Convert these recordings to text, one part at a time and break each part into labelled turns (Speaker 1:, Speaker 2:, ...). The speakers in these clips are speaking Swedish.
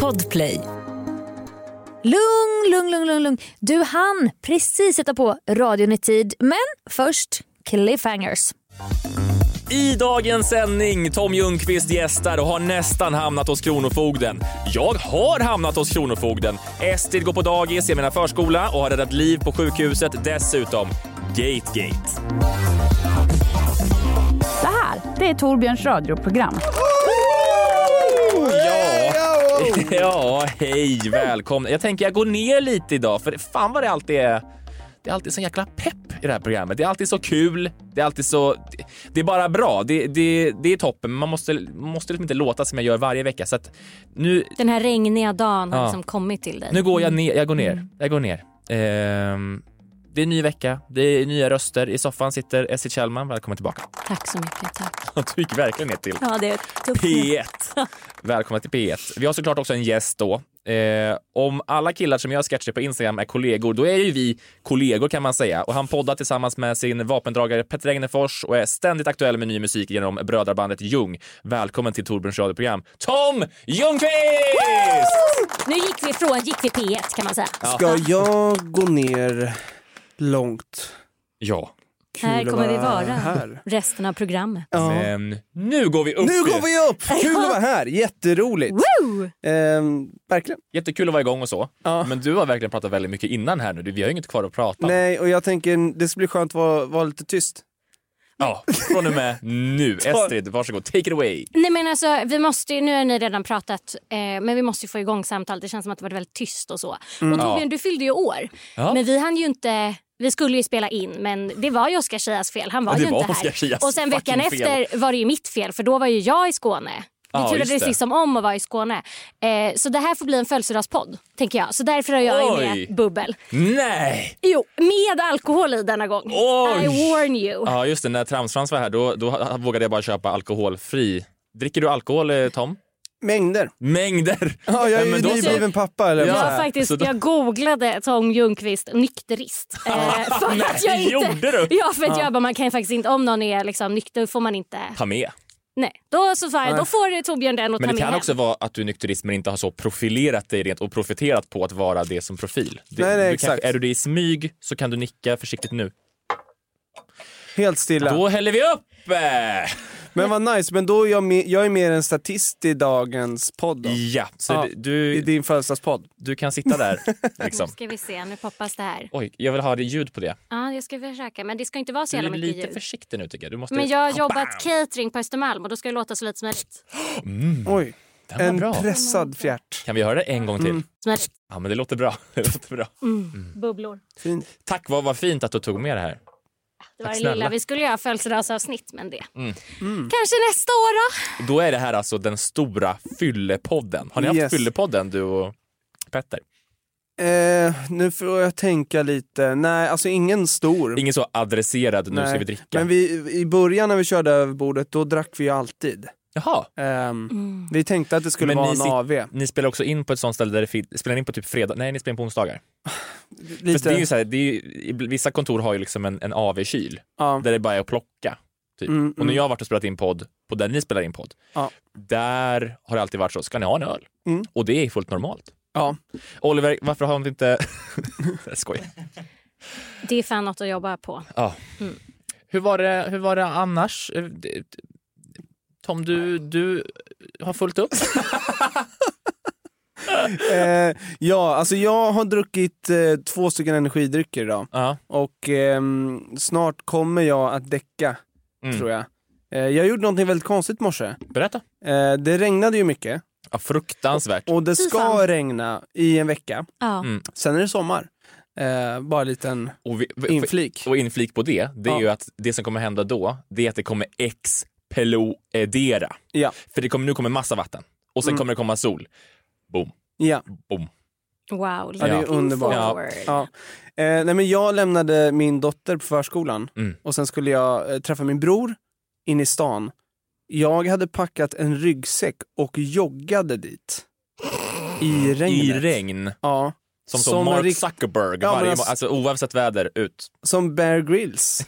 Speaker 1: Podplay. Lugn, lugn, lugn, lugn, lugn. Du hann precis sätta på radion i tid, men först cliffhangers.
Speaker 2: I dagens sändning, Tom Ljungqvist gästar och har nästan hamnat hos Kronofogden. Jag har hamnat hos Kronofogden. Estrid går på dagis, jag menar förskola och har räddat liv på sjukhuset dessutom. Gategate.
Speaker 3: Det här, det är Torbjörns radioprogram.
Speaker 2: Ja. ja, hej, välkomna. Jag tänker jag går ner lite idag för fan vad det alltid är det är alltid så jäkla pepp i det här programmet. Det är alltid så kul. Det är alltid så... Det är bara bra. Det, det, det är toppen. Man måste, måste liksom inte låta som jag gör varje vecka. Så att nu,
Speaker 4: Den här regniga dagen har
Speaker 2: Ja.
Speaker 4: liksom kommit till dig.
Speaker 2: nu går jag ner. Jag går
Speaker 5: Mm.
Speaker 2: ner. Jag går ner. Ehm, det är ny vecka. Det är nya röster. I soffan sitter Essie Kjellman. Välkommen tillbaka.
Speaker 4: Tack så mycket. Tack.
Speaker 2: Du gick verkligen ner till
Speaker 4: Ja, det är tufft.
Speaker 2: P1. Välkomna till P1. Vi har såklart också en gäst då. Eh, om alla killar som gör sketcher på Instagram är kollegor, då är ju vi kollegor kan man säga. Och han poddar tillsammans med sin vapendragare Petter Egnefors och är ständigt aktuell med ny musik genom brödrabandet Ljung. Välkommen till Torbjörns radioprogram, Tom Ljungqvist!
Speaker 4: Nu gick vi från gick vi P1 kan man säga.
Speaker 5: Ska jag gå ner långt?
Speaker 2: Ja,
Speaker 5: Kul
Speaker 4: Här
Speaker 5: att
Speaker 4: kommer vi vara.
Speaker 5: Här.
Speaker 4: Resten av programmet.
Speaker 5: Ja.
Speaker 2: men nu går vi upp.
Speaker 5: Nu går vi upp! Kul att vara här, jätteroligt.
Speaker 4: Woo!
Speaker 5: Ehm, verkligen.
Speaker 2: Jättekul att vara igång och så.
Speaker 5: Ja.
Speaker 2: Men du har verkligen pratat väldigt mycket innan här nu. Vi har ju inget kvar att prata om.
Speaker 5: Nej, och jag tänker det skulle bli skönt att vara, vara lite tyst.
Speaker 2: Ja, från och med nu. Estrid, varsågod. Take it away.
Speaker 4: Nej men alltså, vi måste ju, nu har ni redan pratat, eh, men vi måste ju få igång samtalet. Det känns som att det varit väldigt tyst och så. Och Torbjörn,
Speaker 2: Ja.
Speaker 4: du fyllde ju år.
Speaker 2: Ja.
Speaker 4: Men vi hann ju inte, vi skulle ju spela in men det var ju Oscar Chias fel. Han var
Speaker 2: Ja, det
Speaker 4: ju
Speaker 2: var
Speaker 4: inte
Speaker 2: Oscar
Speaker 4: här.
Speaker 2: Chias
Speaker 4: och sen veckan
Speaker 2: fucking fel.
Speaker 4: efter var det ju mitt fel för då var ju jag i Skåne. Vi
Speaker 2: Ja,
Speaker 4: turades
Speaker 2: just det.
Speaker 4: liksom om att vara i Skåne. Eh, så det här får bli en födelsedagspodd, tänker jag. Så därför har jag
Speaker 2: Oj.
Speaker 4: ju med bubbel.
Speaker 2: Nej!
Speaker 4: Jo, med alkohol i denna gång.
Speaker 2: Oj.
Speaker 4: I warn you.
Speaker 2: Ja, just det. När Tramsfrans var här då, då vågade jag bara köpa alkoholfri. Dricker du alkohol, eh, Tom?
Speaker 5: Mängder.
Speaker 2: Mängder!
Speaker 5: Ja, jag är
Speaker 2: Nej,
Speaker 5: ju
Speaker 2: men då så-
Speaker 5: nybliven pappa. Eller
Speaker 2: Ja.
Speaker 5: vad
Speaker 4: Jag,
Speaker 5: man
Speaker 4: har
Speaker 5: säger.
Speaker 4: faktiskt,
Speaker 2: så då-
Speaker 4: jag googlade Tom Ljungqvist nykterist. Eh, för
Speaker 2: Nej,
Speaker 4: att jag inte,
Speaker 2: gjorde du?
Speaker 4: Ja, för att jag bara, man kan ju faktiskt inte, om någon är liksom nykter får man inte.
Speaker 2: Ta med.
Speaker 4: Nej, då så sa jag,
Speaker 5: Nej.
Speaker 4: då får Torbjörn den och
Speaker 2: Men
Speaker 4: ta
Speaker 2: det
Speaker 4: med
Speaker 2: kan
Speaker 4: hem.
Speaker 2: också vara att du är nykterist men inte har så profilerat dig rent och profiterat på att vara det som profil. Det,
Speaker 5: Nej, nej,
Speaker 2: du kanske-
Speaker 5: exakt.
Speaker 2: är du det i smyg så kan du nicka försiktigt nu.
Speaker 5: Helt stilla.
Speaker 2: Då häller vi upp! eh!
Speaker 5: Men vad nice, men då är jag, me- jag är mer en statist i dagens podd. Då.
Speaker 2: Ja, så
Speaker 5: Ja,
Speaker 2: d-
Speaker 5: I
Speaker 2: Du,
Speaker 5: din födelsedagspodd.
Speaker 2: du kan sitta där. Liksom.
Speaker 4: Nu ska vi se, nu poppas det här.
Speaker 2: Oj, jag vill ha det ljud på det.
Speaker 4: Ja, jag ska försöka, men det ska inte vara så
Speaker 2: Du är
Speaker 4: jävla mycket
Speaker 2: lite
Speaker 4: ljud.
Speaker 2: försiktig nu tycker jag. Du måste...
Speaker 4: Men jag har
Speaker 2: Kabam!
Speaker 4: jobbat catering på Östermalm och då ska det låta så lite som möjligt.
Speaker 5: Oj,
Speaker 2: Den var
Speaker 5: en
Speaker 2: bra.
Speaker 5: pressad fjärt.
Speaker 2: Kan vi höra det en gång till?
Speaker 4: Som möjligt.
Speaker 2: Ja, men det låter bra. Det låter bra.
Speaker 4: Bubblor.
Speaker 5: Fint.
Speaker 2: Tack, vad, vad fint att du tog med det här.
Speaker 4: Det var det
Speaker 2: snälla. Mm.
Speaker 4: lilla. Vi skulle göra födelsedagsavsnitt, men det.
Speaker 5: Mm.
Speaker 4: Kanske nästa år då?
Speaker 2: Då är det här alltså den stora fyllepodden. Har ni haft
Speaker 5: Yes.
Speaker 2: fyllepodden, du och Petter?
Speaker 5: Eh, nu får jag tänka lite. Nej, alltså ingen stor.
Speaker 2: Ingen så adresserad, nu
Speaker 5: Nej.
Speaker 2: ska vi dricka.
Speaker 5: Men vi, i början när vi körde över bordet, då drack vi ju alltid.
Speaker 2: Jaha,
Speaker 5: Ehm,
Speaker 4: Mm.
Speaker 5: Vi tänkte att det skulle
Speaker 2: Men
Speaker 5: vara
Speaker 2: ni
Speaker 5: en
Speaker 2: sit-
Speaker 5: AV.
Speaker 2: ni spelar också in på ett sånt ställe där det fin- spelar ni in på typ fredag? Nej, ni spelar in på onsdagar. Fast
Speaker 5: Lite.
Speaker 2: Det är ju så här, det är ju, i- vissa kontor har ju liksom en, en AV-kyl
Speaker 5: ja.
Speaker 2: där det bara är att plocka. Typ.
Speaker 5: Mm,
Speaker 2: Och när
Speaker 5: mm.
Speaker 2: jag har varit och spelat in podd, på där ni spelar in podd,
Speaker 5: Ja.
Speaker 2: där har det alltid varit så, ska ni ha en öl?
Speaker 5: Mm.
Speaker 2: Och det är fullt normalt.
Speaker 5: ja.
Speaker 2: Oliver, varför har vi inte... jag skojar.
Speaker 4: Det är fan något att jobba på.
Speaker 2: Ja. Hur, var det, hur var det annars? Eh, det- Tom, du, du har fullt upp.
Speaker 5: Eh, ja, alltså jag har druckit eh, två stycken energidrycker idag.
Speaker 2: ja.
Speaker 5: Och ehm, snart kommer jag att däcka,
Speaker 2: Mm.
Speaker 5: tror jag. Eh, jag gjorde någonting väldigt konstigt i morse.
Speaker 2: Berätta.
Speaker 5: Eh, det regnade ju mycket.
Speaker 2: Ja, fruktansvärt.
Speaker 5: Och det
Speaker 4: Fy
Speaker 5: ska
Speaker 4: fan.
Speaker 5: regna i en vecka.
Speaker 4: Ja.
Speaker 2: Mm.
Speaker 5: Sen är det sommar. Eh, bara en liten
Speaker 2: Och, vi, vi-
Speaker 5: inflik.
Speaker 2: och inflik på det, det är
Speaker 5: Ja.
Speaker 2: ju att det som kommer hända då, det är att det kommer explodera.
Speaker 5: Ja.
Speaker 2: För det kommer, nu kommer massa vatten och sen
Speaker 5: Mm.
Speaker 2: kommer det komma sol. Boom,
Speaker 5: ja.
Speaker 2: boom.
Speaker 4: Wow,
Speaker 5: Ja, det är
Speaker 4: looking
Speaker 5: underbart.
Speaker 4: forward.
Speaker 5: Ja. Eh, nej men jag lämnade min dotter på förskolan
Speaker 2: Mm.
Speaker 5: och sen skulle jag eh, träffa min bror in i stan. Jag hade packat en ryggsäck och joggade dit. I regnet.
Speaker 2: I regn.
Speaker 5: Ja.
Speaker 2: Som, så
Speaker 5: Som en
Speaker 2: Mark
Speaker 5: rikt-
Speaker 2: Zuckerberg,
Speaker 5: Ja, men
Speaker 2: varje,
Speaker 5: alltså-
Speaker 2: alltså... oavsett väder, ut.
Speaker 5: Som Bear Grylls.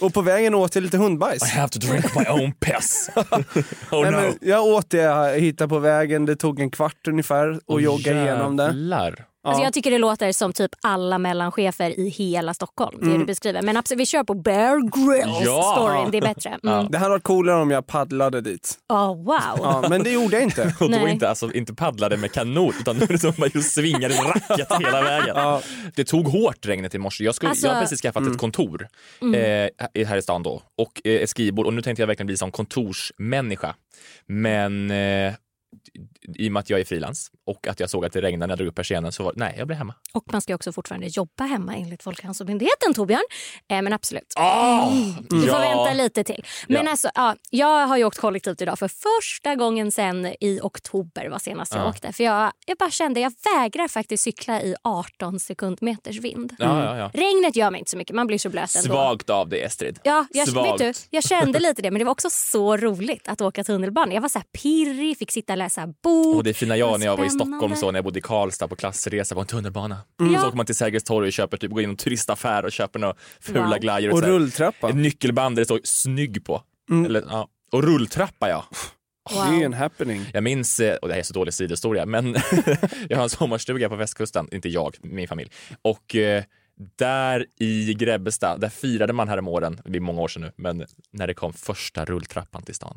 Speaker 5: och på vägen åt jag lite hundbajs.
Speaker 2: have to drink my own piss. oh
Speaker 5: Nej, men jag åt det jag hittade på vägen, det tog en kvart ungefär och jogga igenom det.
Speaker 2: Jävlar.
Speaker 4: Alltså
Speaker 5: Ja.
Speaker 4: jag tycker det låter som typ alla mellanchefer i hela Stockholm. Det
Speaker 5: Mm.
Speaker 4: du beskriver. Men absolut, vi kör på Bear
Speaker 2: Ja.
Speaker 4: Grylls-storyn. Det är bättre. Mm.
Speaker 5: Det här var coolare om jag paddlade dit.
Speaker 4: Oh, wow.
Speaker 5: Ja, men det gjorde jag inte.
Speaker 2: Och då
Speaker 4: Nej.
Speaker 2: inte, alltså, inte paddlade med kanot utan nu är det som man just svingar i racket hela vägen. Det tog hårt regnet i morse. Jag, skulle,
Speaker 4: Alltså- Mm.
Speaker 2: jag har precis skaffat
Speaker 5: Mm.
Speaker 2: ett kontor eh, här i stan då och eh, ett skrivbord och nu tänkte jag verkligen bli som kontorsmänniska. Men eh, i och med att jag är frilans och att jag såg att det regnade när jag drog upp persiennen så var nej, jag blev hemma.
Speaker 4: Och man ska ju också fortfarande jobba hemma enligt Folkhälsomyndigheten, Torbjörn. Eh, men absolut. Du får vänta lite till. Men
Speaker 2: Ah! Ja.
Speaker 4: alltså, ja, jag har ju åkt kollektivt idag för första gången sen i oktober var senast jag
Speaker 2: Ja.
Speaker 4: åkte. För jag, jag bara kände, jag vägrar faktiskt cykla i 18 sekundmeters vind.
Speaker 2: Ja, ja, ja.
Speaker 4: Regnet gör mig inte så mycket, man blir så blöt ändå.
Speaker 2: Svagt av dig, Estrid.
Speaker 4: Ja, jag, vet
Speaker 2: Svagt.
Speaker 4: du, jag kände lite det, men det var också så roligt att åka tunnelbana. Jag var så här pirrig, fick sitta och läsa bok.
Speaker 2: Och det fina jag när jag var i
Speaker 4: Spännande.
Speaker 2: Stockholm så när jag bodde i Karlstad på klassresa på en tunnelbana.
Speaker 4: Mm.
Speaker 2: Så åker man till Sergels torg och köper typ, går in i en turistaffär och köper några fula
Speaker 4: Wow.
Speaker 2: glajjor.
Speaker 5: Och
Speaker 2: så här.
Speaker 5: rulltrappa. Mm.
Speaker 2: Ett nyckelband där det står snygg på. Eller, ja. Och rulltrappa ja.
Speaker 5: Det är ju en happening.
Speaker 2: Jag minns, eh, och det här är så dålig sidohistoria, men jag har en sommarstuga på västkusten, inte jag, min familj. Och eh, där i Grebbestad, där firade man häromåren, det blir många år sedan nu, men när det kom första rulltrappan till stan.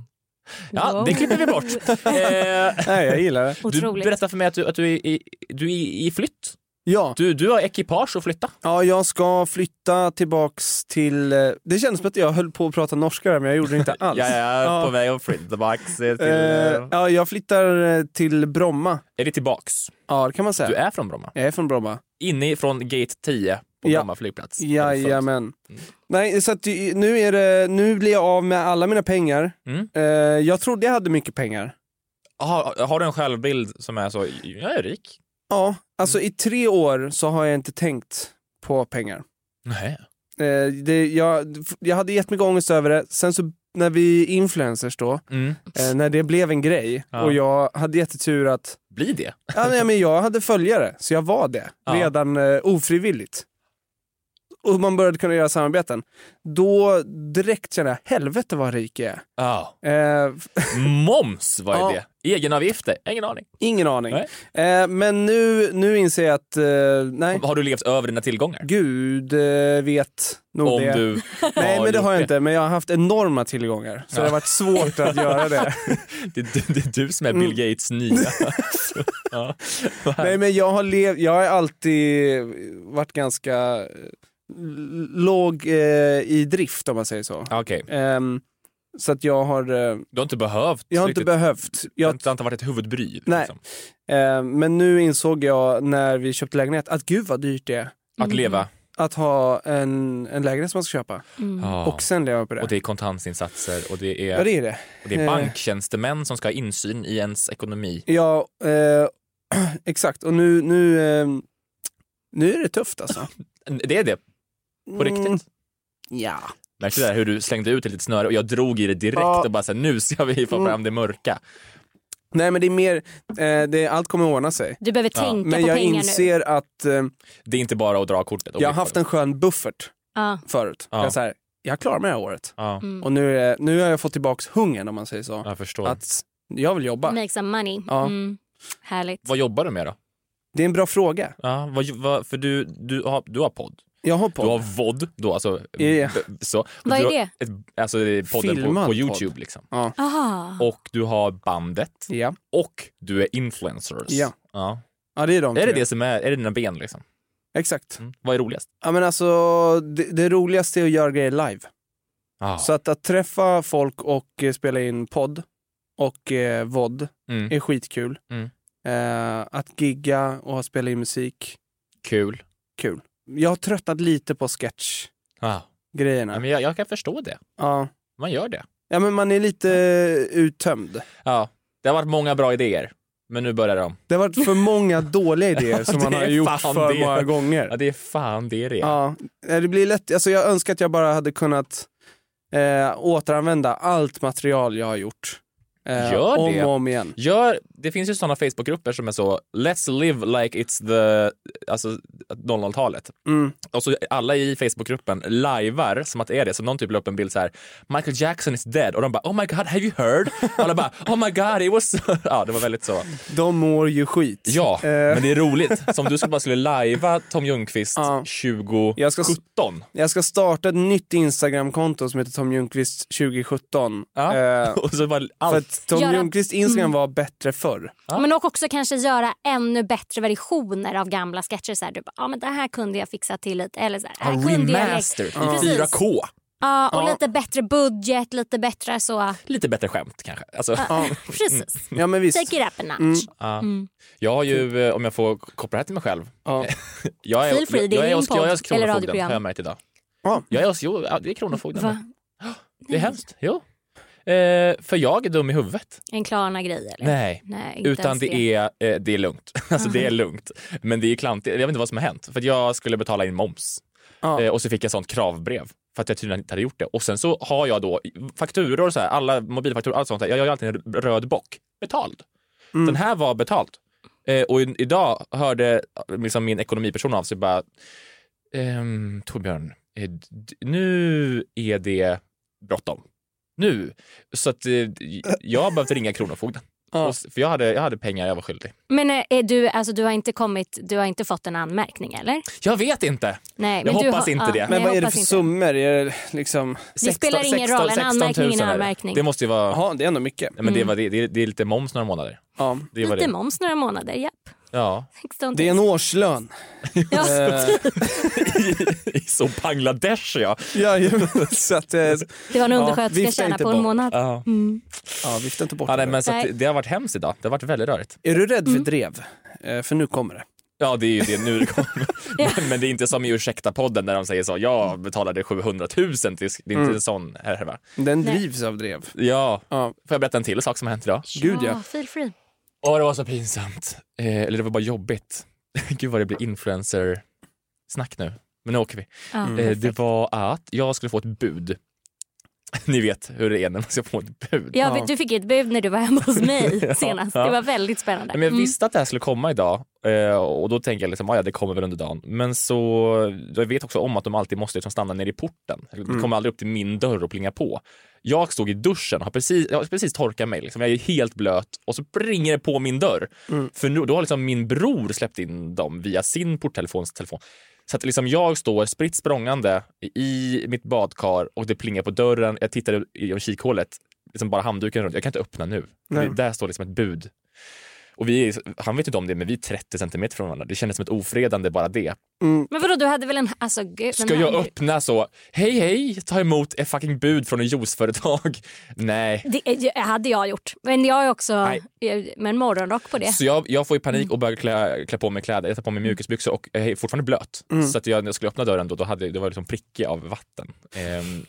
Speaker 2: Ja,
Speaker 4: Wow.
Speaker 2: det klipper vi bort. Eh,
Speaker 5: Nej, jag gillar det.
Speaker 2: du
Speaker 4: Otroligt.
Speaker 2: berättar för mig att du, att du, är, i, du är i i flytt.
Speaker 5: Ja,
Speaker 2: Du, du har ekipage att flytta.
Speaker 5: ja, jag ska flytta tillbaks till... eh, Det känns som att jag höll på att prata norska där, men jag gjorde det inte alls.
Speaker 2: Jag är
Speaker 5: Ja.
Speaker 2: på väg att flytta tillbaks. Till,
Speaker 5: Eh, ja, jag flyttar eh, till Bromma.
Speaker 2: Är det tillbaks?
Speaker 5: Ja, det kan man
Speaker 2: Du
Speaker 5: säga.
Speaker 2: är från Bromma?
Speaker 5: Jag är från Bromma.
Speaker 2: inifrån gate 10 på
Speaker 5: Ja.
Speaker 2: Bromma flygplats.
Speaker 5: Jajamän. Nej, så att ju- nu, är det, nu blir jag av med alla mina pengar.
Speaker 2: Mm.
Speaker 5: Eh, jag trodde jag hade mycket pengar.
Speaker 2: Har, har du en självbild som är så, jag är rik?
Speaker 5: Ja, alltså i tre år så har jag inte tänkt på pengar.
Speaker 2: Nej.
Speaker 5: Eh, det, jag, jag hade jättemycket ångest över det. Sen så när vi influencers då,
Speaker 2: Mm.
Speaker 5: eh, när det blev en grej
Speaker 2: Ja.
Speaker 5: och jag hade jättetur att
Speaker 2: Blir det?
Speaker 5: ja, nej, men jag hade följare, så jag var det
Speaker 2: Ja.
Speaker 5: redan eh, ofrivilligt. Och man började kunna göra samarbeten. Då direkt kände jag, helvete vad rik jag är.
Speaker 2: Ja.
Speaker 5: Eh,
Speaker 2: Moms, vad är
Speaker 5: Ja.
Speaker 2: det? Egenavgifter? Ingen aning.
Speaker 5: ingen aning.
Speaker 2: Nej.
Speaker 5: Eh, men nu, nu inser jag att, eh, nej,
Speaker 2: Har du levt över dina tillgångar?
Speaker 5: gud eh, vet nog
Speaker 2: Om
Speaker 5: det.
Speaker 2: du
Speaker 5: Nej, men det har jag
Speaker 2: gjort
Speaker 5: inte. Men jag har haft enorma tillgångar. Så det har varit svårt att göra det.
Speaker 2: Det, det, det är du som är Bill
Speaker 5: Mm.
Speaker 2: Gates nya. ja.
Speaker 5: Nej, men jag har, lev- jag har alltid varit ganska eh, l- låg eh, i drift om man säger så.
Speaker 2: Okej,
Speaker 5: Ehm, så att jag har, eh,
Speaker 2: du har inte behövt
Speaker 5: jag har inte
Speaker 2: riktigt,
Speaker 5: behövt.
Speaker 2: det har
Speaker 5: Jag,
Speaker 2: inte- det har inte varit ett huvudbry.
Speaker 5: Nej.
Speaker 2: Liksom.
Speaker 5: ehm, men nu insåg jag när vi köpte lägenhet att gud vad dyrt det är
Speaker 2: Att leva.
Speaker 5: att ha en, en lägenhet som man ska köpa
Speaker 4: Mm.
Speaker 2: Ja.
Speaker 5: Mm. och sen leva på det.
Speaker 2: Ah. och det är kontantinsatser och det är,
Speaker 5: Ja, det är det.
Speaker 2: och det är
Speaker 5: eh.
Speaker 2: banktjänstemän som ska ha insyn i ens ekonomi.
Speaker 5: Ja, eh, exakt. Och nu, nu, ehm, nu är det tufft alltså.
Speaker 2: Det är det, på riktigt.
Speaker 5: Mm, ja.
Speaker 2: Märkte du där hur du slängde ut ett litet snöre och jag drog i det direkt
Speaker 5: Ja. Mm.
Speaker 2: och bara såhär, nu ska vi få fram det mörka.
Speaker 5: Nej men det är mer, eh, det, allt kommer att ordna sig.
Speaker 4: Du behöver
Speaker 2: Ja.
Speaker 4: tänka
Speaker 5: Men
Speaker 4: på
Speaker 5: jag
Speaker 4: pengar nu.
Speaker 5: inser att eh,
Speaker 2: Det är inte bara att dra kortet. och
Speaker 5: jag har
Speaker 2: bli
Speaker 5: haft
Speaker 2: kvar.
Speaker 5: en skön buffert
Speaker 4: Ja.
Speaker 5: förut.
Speaker 2: Ja.
Speaker 5: Jag, så här, jag klarar mig det här året.
Speaker 2: Ja,
Speaker 4: Mm.
Speaker 5: Och nu, är, nu har jag fått tillbaks hungern om man säger så.
Speaker 2: jag förstår.
Speaker 5: Att jag vill jobba.
Speaker 4: Make some money.
Speaker 5: Ja.
Speaker 4: Mm. Härligt.
Speaker 2: Vad jobbar du med då?
Speaker 5: Det är en bra fråga.
Speaker 2: Ja, vad, vad, för du, du, har, du har podd.
Speaker 5: Jag har
Speaker 2: Du har
Speaker 5: på.
Speaker 2: VOD då, alltså.
Speaker 5: Ja.
Speaker 2: b- Så. Och
Speaker 4: Vad
Speaker 2: du
Speaker 4: är
Speaker 2: har
Speaker 4: det?
Speaker 2: Ett, alltså det är podden på,
Speaker 5: Filmad
Speaker 2: på
Speaker 5: podd.
Speaker 2: Youtube liksom.
Speaker 4: Aha.
Speaker 2: Och du har bandet
Speaker 5: Ja.
Speaker 2: och du är influencers.
Speaker 5: Ja. ja, det är de
Speaker 2: Är det
Speaker 5: tre.
Speaker 2: det som är, är det dina ben liksom?
Speaker 5: Exakt.
Speaker 2: Mm. Vad är roligast?
Speaker 5: Ja, men alltså, det, det roligaste är att göra grejer live.
Speaker 2: Ah.
Speaker 5: Så att, att träffa folk och eh, spela in podd och eh, vod
Speaker 2: mm.
Speaker 5: är skitkul.
Speaker 2: Mm.
Speaker 5: Eh, att gigga och spela in musik,
Speaker 2: Kul.
Speaker 5: kul. Jag har tröttnat lite på sketchgrejerna.
Speaker 2: Ah. Ja, men jag, jag kan förstå det.
Speaker 5: Ja.
Speaker 2: Man eh, gör det.
Speaker 5: ja, men man är lite uttömd.
Speaker 2: Ja. Det har varit många bra idéer, men nu börjar de.
Speaker 5: Det har varit för många dåliga idéer
Speaker 2: Ja,
Speaker 5: som man
Speaker 2: det
Speaker 5: har
Speaker 2: är
Speaker 5: gjort
Speaker 2: fan
Speaker 5: för
Speaker 2: det.
Speaker 5: många gånger.
Speaker 2: Ja, det är fan det det är.
Speaker 5: Ja, det blir lätt. Alltså jag önskar att jag bara hade kunnat eh, återanvända allt material jag har gjort. Eh,
Speaker 2: Gör
Speaker 5: om
Speaker 2: det.
Speaker 5: och om igen.
Speaker 2: Gör, det finns ju sådana Facebookgrupper som är så “Let's live like it's the alltså, 00-talet”.
Speaker 5: Mm.
Speaker 2: Och så alla i Facebookgruppen lajvar som att det är det. Så någon typ la upp en bild så här “Michael Jackson is dead” och de bara “Oh my god, have you heard?” och alla bara “Oh my god, it was...” so-" Ja, det var väldigt så.
Speaker 5: De mår ju skit.
Speaker 2: Ja,
Speaker 5: Eh.
Speaker 2: men det är roligt. Som du skulle bara skulle lajva Tom Ljungqvist
Speaker 5: Ja.
Speaker 2: 2017.
Speaker 5: Jag ska s- Jag ska starta ett nytt Instagramkonto som heter Tom Ljungqvist 2017.
Speaker 2: Ja.
Speaker 5: Eh,
Speaker 2: Och så var
Speaker 5: för
Speaker 2: allt.
Speaker 5: att Tom
Speaker 4: Göra- Mm.
Speaker 5: Ljungqvists Instagram var bättre förr.
Speaker 4: Men och också kanske göra ännu bättre versioner av gamla sketcher. Så här, du bara, ah, men det här kunde jag fixa till lite. Eller så här,
Speaker 2: Ja,
Speaker 4: här kunde jag
Speaker 2: remaster i
Speaker 4: Precis.
Speaker 2: 4K.
Speaker 4: Ja,
Speaker 5: Ja.
Speaker 4: och lite bättre budget, lite bättre så.
Speaker 2: Lite bättre skämt kanske. Alltså,
Speaker 5: Ja,
Speaker 4: Precis.
Speaker 5: ja men visst.
Speaker 4: Take it up a notch.
Speaker 2: ja.
Speaker 4: Mm.
Speaker 2: Jag har ju, eh, om jag får koppla det här till mig själv.
Speaker 5: Ja.
Speaker 2: Jag är,
Speaker 4: Feel free, det är
Speaker 2: jag,
Speaker 4: din
Speaker 2: jag, jag, jag är hos
Speaker 4: podd eller
Speaker 2: Kronofogden
Speaker 4: radioprogram.
Speaker 2: har jag märkt idag.
Speaker 5: Ja.
Speaker 2: Jag är hos, jo, ja, det är Kronofogden.
Speaker 4: Va?
Speaker 2: Det är hemskt. Jo. Eh, för jag är dum i huvudet.
Speaker 4: En Klarna-grej eller?
Speaker 2: Nej.
Speaker 4: Nej, inte
Speaker 2: Utan
Speaker 4: ens
Speaker 2: det är, eh, det är lugnt. Alltså det är lugnt. Men det är klantigt. Jag vet inte vad som har hänt. För att jag skulle betala in moms.
Speaker 5: Ja.
Speaker 2: Eh, och så fick jag sånt kravbrev. För att jag tydligen inte hade gjort det. Och sen så har jag då fakturor, och så här, alla mobilfakturor, allt sånt. Där. Jag gör ju alltid en röd bock. Betald.
Speaker 5: Mm.
Speaker 2: Den här var betald. Eh, och i, idag hörde liksom min ekonomiperson av sig bara ehm, Torbjörn, eh, d- nu är det bråttom. Nu. Så att eh, jag har behövt ringa Kronofogden.
Speaker 5: Ja.
Speaker 2: Och s- För jag hade, jag hade pengar jag var skyldig.
Speaker 4: Men eh, är du, alltså, du, har inte kommit, du har inte fått en anmärkning eller?
Speaker 2: Jag vet inte!
Speaker 4: Nej,
Speaker 2: Jag
Speaker 4: men du
Speaker 2: hoppas
Speaker 4: har,
Speaker 2: inte det.
Speaker 5: Men
Speaker 4: jag
Speaker 5: vad är det
Speaker 4: hoppas
Speaker 5: för
Speaker 4: inte.
Speaker 5: summor? Är det liksom...
Speaker 4: Det spelar ingen roll, en
Speaker 2: 16 000
Speaker 4: anmärkning är en
Speaker 2: är det.
Speaker 4: anmärkning. Mm.
Speaker 2: Det måste ju vara...
Speaker 5: Jaha, det är ändå mycket.
Speaker 2: Nej, men det, var, det, det, det är lite moms några månader.
Speaker 5: Ja.
Speaker 2: Det var
Speaker 4: Lite
Speaker 2: det.
Speaker 4: moms några månader, japp.
Speaker 2: Ja.
Speaker 4: 16 000.
Speaker 5: Det är en årslön.
Speaker 4: Ja.
Speaker 5: Eh,
Speaker 2: Så Bangladesh ja.
Speaker 5: ja, ja, så att, eh,
Speaker 4: Det var en
Speaker 5: Ja,
Speaker 4: undersköterska
Speaker 5: vifta
Speaker 4: tjäna
Speaker 5: inte
Speaker 4: på en
Speaker 5: bort.
Speaker 4: månad.
Speaker 2: Ja.
Speaker 5: ja, vifta inte bort
Speaker 2: Ja,
Speaker 5: det.
Speaker 2: nej, men så att, det-
Speaker 4: Nej.
Speaker 2: det har varit hemskt idag. Det har varit väldigt rörigt.
Speaker 5: Är du rädd för
Speaker 4: Mm.
Speaker 5: drev? Eh, för nu kommer det.
Speaker 2: Ja, det är ju det nu det kommer. men, men det är inte som i Ursäkta-podden när de säger så. Jag betalade 700 000 till... Det är inte en
Speaker 4: Mm.
Speaker 2: sån härva.
Speaker 5: Den
Speaker 4: Nej.
Speaker 5: drivs av drev.
Speaker 2: Ja.
Speaker 5: Ja,
Speaker 2: Får jag berätta en till sak som har hänt idag?
Speaker 5: gud ja.
Speaker 4: feel free.
Speaker 2: Åh, det var så pinsamt. Eh, eller det var bara jobbigt. Gud vad det blir influencer-snack nu. Men nu åker vi.
Speaker 4: Ja,
Speaker 2: Eh,
Speaker 4: perfekt.
Speaker 2: det var att jag skulle få ett bud. Ni vet hur det är när man ska få ett bud.
Speaker 4: Jag
Speaker 5: Ja.
Speaker 4: vet, du fick ett bud när du var hemma hos mig senast.
Speaker 2: ja.
Speaker 4: Det var väldigt spännande.
Speaker 2: Nej, Men jag
Speaker 4: Mm.
Speaker 2: visste att det här skulle komma idag eh, och då tänker jag liksom, ah, ja, det kommer väl under dagen. Men så, jag vet också om att de alltid måste liksom stanna nere i porten. Det kommer aldrig upp till min dörr och plinga på. Jag stod i duschen och har precis, jag har precis torkat mig. Liksom. Jag är helt blöt och så ringer det på min dörr. För nu, då har liksom min bror släppt in dem via sin porttelefons telefon. Så att liksom jag står spritt språngande i mitt badkar och det plingar på dörren. Jag tittar genom kikhålet, liksom bara handduken runt. Jag kan inte öppna nu.
Speaker 5: Nej.
Speaker 2: Det- Där står liksom ett bud och vi är, han vet inte om det, men vi är 30 centimeter från varandra. Det kändes som ett ofredande bara det.
Speaker 4: Men vadå, du hade väl en... Alltså, gud,
Speaker 2: Ska
Speaker 4: men
Speaker 2: jag
Speaker 4: herregud.
Speaker 2: öppna så, hej hej, ta emot ett fucking bud från en juiceföretag? Nej.
Speaker 4: Det är ju- hade jag gjort. Men jag är också
Speaker 2: Nej.
Speaker 4: jag- med en morgonrock på det. Mm.
Speaker 2: Så jag, jag får ju panik och börjar klä, klä på mig kläder. Jag tar på mig mjukisbyxor och jag är fortfarande blöt.
Speaker 4: Mm.
Speaker 2: Så att jag, när jag skulle öppna dörren då, då hade, det var liksom prickig av vatten. Ehm,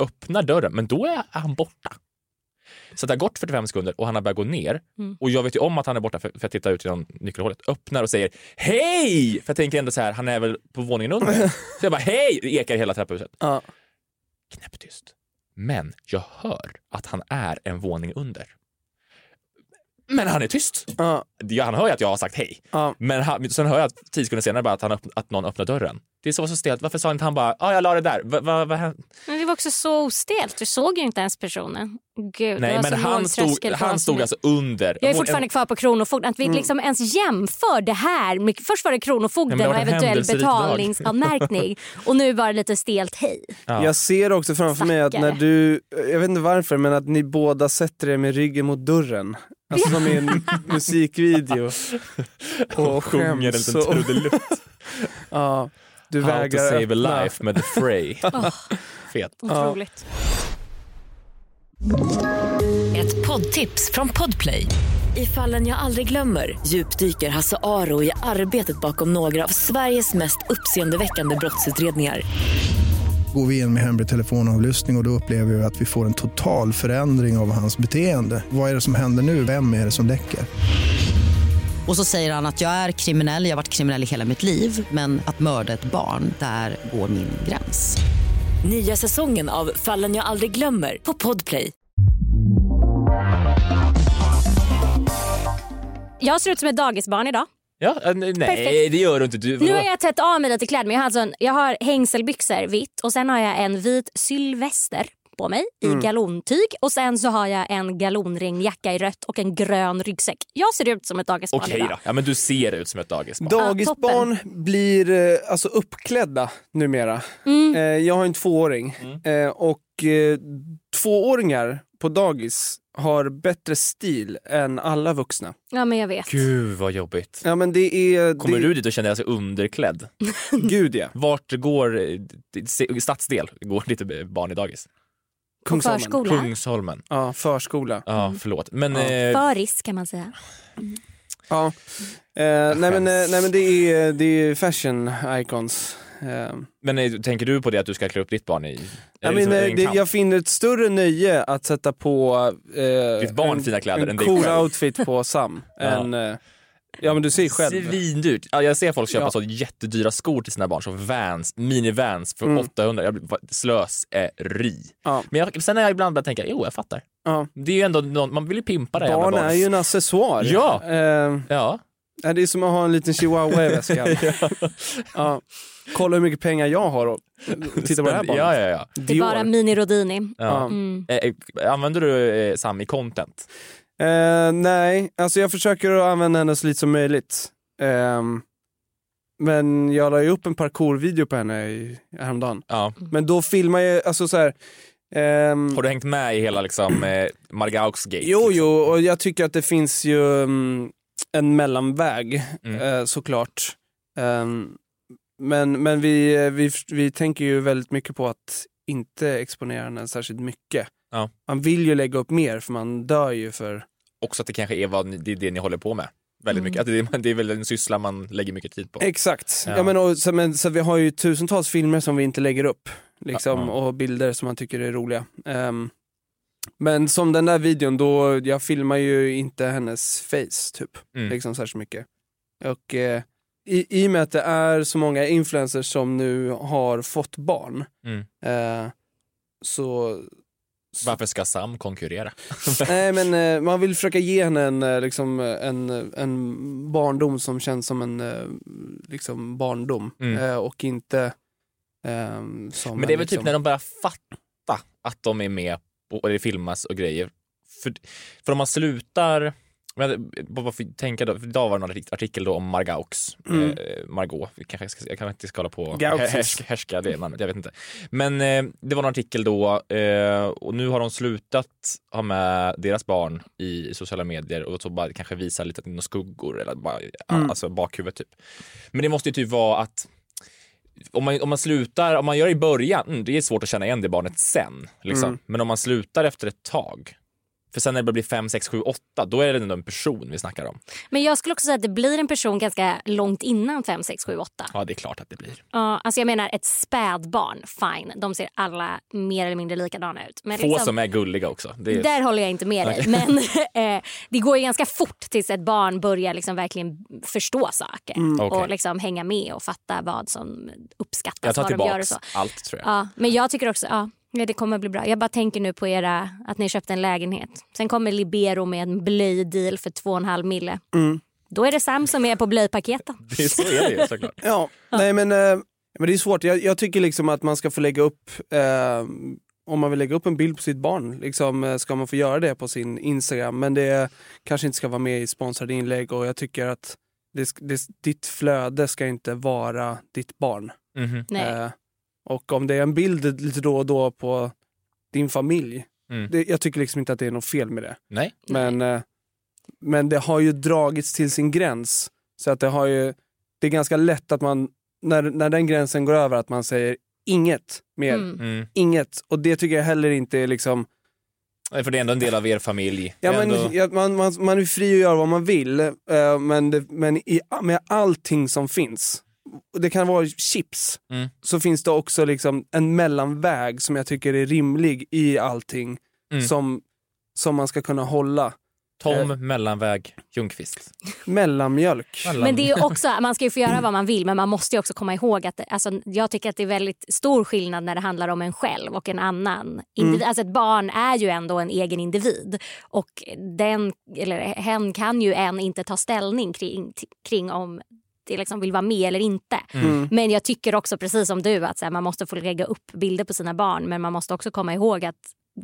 Speaker 2: öppnar dörren, men då är han borta. Så att det har gått 45 sekunder och han har börjat gå ner.
Speaker 4: Mm.
Speaker 2: Och jag vet ju om att han är borta för, för jag tittar ut genom nyckelhålet. Öppnar och säger hej! För jag tänker ändå så här, han är väl på våningen under. så jag bara hej! Det ekar i hela trapphuset.
Speaker 5: Ja.
Speaker 2: Knäpptyst. Men jag hör att han är en våning under. Men han är tyst.
Speaker 5: Ja,
Speaker 2: Ja, han hör ju att jag har sagt hej.
Speaker 5: ja.
Speaker 2: Men han, sen hör jag att tio sekunder senare bara att, han öpp, att någon öppnar dörren. Det är så, så stelt. Varför sa inte han bara ja, jag la det där? Va, va, va? hände?"
Speaker 4: Men det var också så ostelt. Du såg ju inte ens personen. Gud, det
Speaker 2: Nej,
Speaker 4: var alltså
Speaker 2: men
Speaker 4: så
Speaker 2: han
Speaker 4: låg
Speaker 2: stod,
Speaker 4: tröskel för
Speaker 2: han
Speaker 4: vad
Speaker 2: stod
Speaker 4: som-
Speaker 2: alltså Mm. under.
Speaker 4: Jag är
Speaker 2: Hon-
Speaker 4: fortfarande kvar på Kronofogden. Att vi liksom ens jämför det här. Med, först var det Kronofogden
Speaker 2: Nej, men det
Speaker 4: och
Speaker 2: har varit en händelserik
Speaker 4: eventuell
Speaker 2: dag.
Speaker 4: betalningsanmärkning. och nu var det lite stelt hej.
Speaker 2: Ja.
Speaker 5: Jag ser också framför mig att när
Speaker 4: Stackare.
Speaker 5: du, jag vet inte varför, men att ni båda sätter er med ryggen mot dörren. Alltså som i en musikvideo. Och
Speaker 2: sjunger en
Speaker 5: skäms.
Speaker 2: liten
Speaker 5: och-
Speaker 2: trudelutt.
Speaker 5: Ja, du
Speaker 2: How to
Speaker 5: vägrar
Speaker 2: save
Speaker 5: öppna.
Speaker 2: a life med The Fray. Fet.
Speaker 4: Otroligt.
Speaker 6: Ett poddtips från Podplay. I fallen jag aldrig glömmer djupdyker Hasse Aro i arbetet bakom några av Sveriges mest uppseendeväckande brottsutredningar.
Speaker 7: går vi in med hemlig telefonavlyssning och, och då upplever vi att vi får en total förändring av hans beteende. Vad är det som händer nu? Vem är det som läcker?
Speaker 8: Och så säger han att jag är kriminell, jag har varit kriminell i hela mitt liv men att mörda ett barn, där går min gräns.
Speaker 6: Nya säsongen av Fallen jag aldrig glömmer på Podplay.
Speaker 4: Jag ser ut som ett dagisbarn idag.
Speaker 2: Ja, eh, nej,
Speaker 4: Perfekt.
Speaker 2: det gör du inte. Du,
Speaker 4: Nu
Speaker 2: vadå?
Speaker 4: har jag tätt av mig lite kläder. Men jag, har alltså en, jag har hängselbyxor vitt och sen har jag en vit sylvester på mig i
Speaker 2: Mm.
Speaker 4: galontyg. Och sen så har jag en galonringjacka i rött och en grön ryggsäck. Jag ser ut som ett dagisbarn
Speaker 2: Okej
Speaker 4: idag.
Speaker 2: då. Ja, men du ser ut som ett dagisbarn.
Speaker 5: Dagisbarn blir eh, alltså uppklädda numera.
Speaker 4: Mm.
Speaker 5: Eh, Jag har en tvååring
Speaker 2: Mm.
Speaker 5: Eh, och eh, tvååringar på dagis har bättre stil än alla vuxna.
Speaker 4: Ja men jag vet.
Speaker 2: Gud vad jobbigt.
Speaker 5: Ja men det är...
Speaker 2: Kommer
Speaker 5: det,
Speaker 2: du dit och känner dig alltså underklädd?
Speaker 5: Gud ja.
Speaker 2: Vart går, eh, se- stadsdel, går ditt barn i dagis?
Speaker 4: På
Speaker 5: Kungsholmen.
Speaker 4: förskolan.
Speaker 2: Kungsholmen.
Speaker 5: Ja, förskola.
Speaker 2: Ja,
Speaker 4: Mm.
Speaker 2: förlåt. Men
Speaker 5: Ja.
Speaker 2: eh,
Speaker 4: Föris kan man säga.
Speaker 5: Ja. Eh, nej, men, eh, nej men det är, det är fashion icons. Eh,
Speaker 2: Men eh, tänker du på det att du ska klä upp ditt barn i...
Speaker 5: jag,
Speaker 2: är det liksom
Speaker 5: men, eh,
Speaker 2: en
Speaker 5: det,
Speaker 2: kamp?
Speaker 5: jag finner ett större nöje att sätta på eh,
Speaker 2: Ditt barn
Speaker 5: en,
Speaker 2: fina kläder
Speaker 5: en
Speaker 2: än dig
Speaker 5: cool
Speaker 2: själv.
Speaker 5: outfit på Sam. än, eh, ja men du ser ju själv.
Speaker 2: Svindyrt. Ja, jag ser folk köpa
Speaker 5: Ja.
Speaker 2: så jättedyra skor till sina barn, så Vans, mini-Vans för 800. Jag blir bara slöseri.
Speaker 5: Mm. Ja.
Speaker 2: Men jag, sen har jag ibland börjat tänka, jo jag fattar.
Speaker 5: Ja.
Speaker 2: Det är ju ändå någon, man vill ju pimpa det jävla
Speaker 5: Barn är
Speaker 2: barnet.
Speaker 5: ju en accessoar.
Speaker 2: Ja.
Speaker 5: Eh,
Speaker 2: Ja,
Speaker 5: Ja, det är som att ha en liten chihuahua i väskan. ja. Kolla hur mycket pengar jag har och titta på det här barnet.
Speaker 2: ja, ja, ja.
Speaker 4: Det är bara mini Rodini.
Speaker 2: ja.
Speaker 4: Mm.
Speaker 2: Eh, eh, Använder du eh, Sam i content?
Speaker 5: Eh, nej, alltså jag försöker att använda henne så lite som möjligt. Ehm, men jag la ju upp en parkourvideo på henne i, häromdagen.
Speaker 2: Ja.
Speaker 4: Mm.
Speaker 5: Men då filmar jag, alltså så här. ehm,
Speaker 2: Har du hängt med i hela liksom, eh, Margaux gate?
Speaker 5: jo, jo, och jag tycker att det finns ju mm, en mellanväg
Speaker 2: Mm.
Speaker 5: eh, såklart. Ehm, men men vi, eh, vi, vi tänker ju väldigt mycket på att inte exponera henne särskilt mycket.
Speaker 2: Ja.
Speaker 5: Man vill ju lägga upp mer för man dör ju för
Speaker 2: Också att det kanske är vad ni, det, är det ni håller på med.
Speaker 5: Mm.
Speaker 2: Väldigt mycket. Att det, är- det är väl en syssla man lägger mycket tid på.
Speaker 5: Exakt.
Speaker 2: Ja.
Speaker 5: Ja. men, och, så, men, så vi har ju tusentals filmer som vi inte lägger upp. Liksom,
Speaker 2: Ja, ja.
Speaker 5: Och bilder som man tycker är roliga. Ehm, men som den där videon, då, jag filmar ju inte hennes face typ.
Speaker 2: Mm.
Speaker 5: Liksom särskilt mycket. Och eh, i, i och med att det är så många influencers som nu har fått barn.
Speaker 2: Mm.
Speaker 5: eh, så...
Speaker 2: Varför ska Sam konkurrera?
Speaker 5: Nej men eh, man vill försöka ge henne en, eh, liksom, eh, en, eh, en barndom som känns som en eh, liksom, barndom
Speaker 2: Mm.
Speaker 5: eh, och inte ehm, som
Speaker 2: Men det är
Speaker 5: en,
Speaker 2: väl typ
Speaker 5: liksom,
Speaker 2: när de börjar fatta att de är med på, och det filmas och grejer. För, för om man slutar, men, vad- vad får jag tänka då, för idag var det någon artikel då om Margaux,
Speaker 5: Mm.
Speaker 2: eh, Margot, Vi kanske ska, jag kanske inte ska hålla på och
Speaker 5: Gauxis.
Speaker 2: härska, härska det namnet, jag vet inte. Men eh, det var någon artikel då eh, och nu har de slutat ha med deras barn i sociala medier och så bara kanske visa lite några skuggor eller bara, alltså bakhuvudet typ. Men det måste ju typ vara att om man, om man slutar, om man gör det i början, mm, det är svårt att känna igen det barnet sen. Liksom. Men om man slutar efter ett tag, för sen när det börjar bli 5, 6, 7, 8, då är det ändå en person vi snackar om.
Speaker 4: Men jag skulle också säga att det blir en person ganska långt innan 5, 6, 7, 8.
Speaker 2: Ja, det är klart att det blir.
Speaker 4: Ja, alltså jag menar ett spädbarn, fine. De ser alla mer eller mindre likadana ut. Men
Speaker 2: Få
Speaker 4: liksom-
Speaker 2: som är gulliga också. Det är,
Speaker 4: Där håller jag inte med dig. Men eh, det går ju ganska fort tills ett barn börjar liksom verkligen förstå saker
Speaker 2: Mm, okej.
Speaker 4: och liksom hänga med och fatta vad som uppskattas.
Speaker 2: jag tar
Speaker 4: vad Alltså, de gör och
Speaker 2: tillbaks
Speaker 4: så.
Speaker 2: allt tror jag.
Speaker 4: Ja, men jag tycker också ja, ja, det kommer bli bra. Jag bara tänker nu på era, att ni köpte en lägenhet. Sen kommer Libero med en blöjdeal för 2,5 mille. Då är det Sam som är på blöjpaketen.
Speaker 2: Mm. Det är så är det ju såklart.
Speaker 5: Ja, nej men, eh, men det är svårt. Jag, jag tycker liksom att man ska få lägga upp, eh, om man vill lägga upp en bild på sitt barn, liksom, eh, ska man få göra det på sin Instagram. Men det kanske inte ska vara med i sponsrade inlägg och jag tycker att det, sk- det, ditt flöde ska inte vara ditt barn.
Speaker 2: Mhm.
Speaker 4: Nej.
Speaker 5: Eh, och om det är en bild lite då och då på din familj.
Speaker 2: Mm.
Speaker 5: Det, jag tycker liksom inte att det är något fel med det.
Speaker 2: Nej.
Speaker 5: Men, eh, men det har ju dragits till sin gräns. Så att det, har ju, det är ganska lätt att man, när, när den gränsen går över, att man säger inget mer.
Speaker 4: Mm.
Speaker 2: Mm.
Speaker 5: Inget. Och det tycker jag heller inte är liksom...
Speaker 2: Nej, För det är ändå en del av er familj.
Speaker 5: Ja,
Speaker 2: Det är
Speaker 5: men,
Speaker 2: ändå...
Speaker 5: ja, man, man, man är fri att göra vad man vill, eh, men, det, men i, med allting som finns, och det kan vara chips,
Speaker 2: Mm.
Speaker 5: så finns det också liksom en mellanväg som jag tycker är rimlig i allting
Speaker 2: Mm.
Speaker 5: som, som man ska kunna hålla.
Speaker 2: Tom
Speaker 4: eh.
Speaker 2: Mellanväg Ljungqvist.
Speaker 5: Mellanmjölk.
Speaker 4: Men det är också, man ska ju få göra vad man vill men man måste ju också komma ihåg att alltså, jag tycker att det är väldigt stor skillnad när det handlar om en själv och en annan. Individ.
Speaker 5: Mm.
Speaker 4: Alltså ett barn är ju ändå en egen individ och den, eller hen kan ju än inte ta ställning kring, kring om det liksom vill vara med eller inte.
Speaker 5: Mm.
Speaker 4: Men jag tycker också precis som du att så här, man måste få lägga upp bilder på sina barn men man måste också komma ihåg att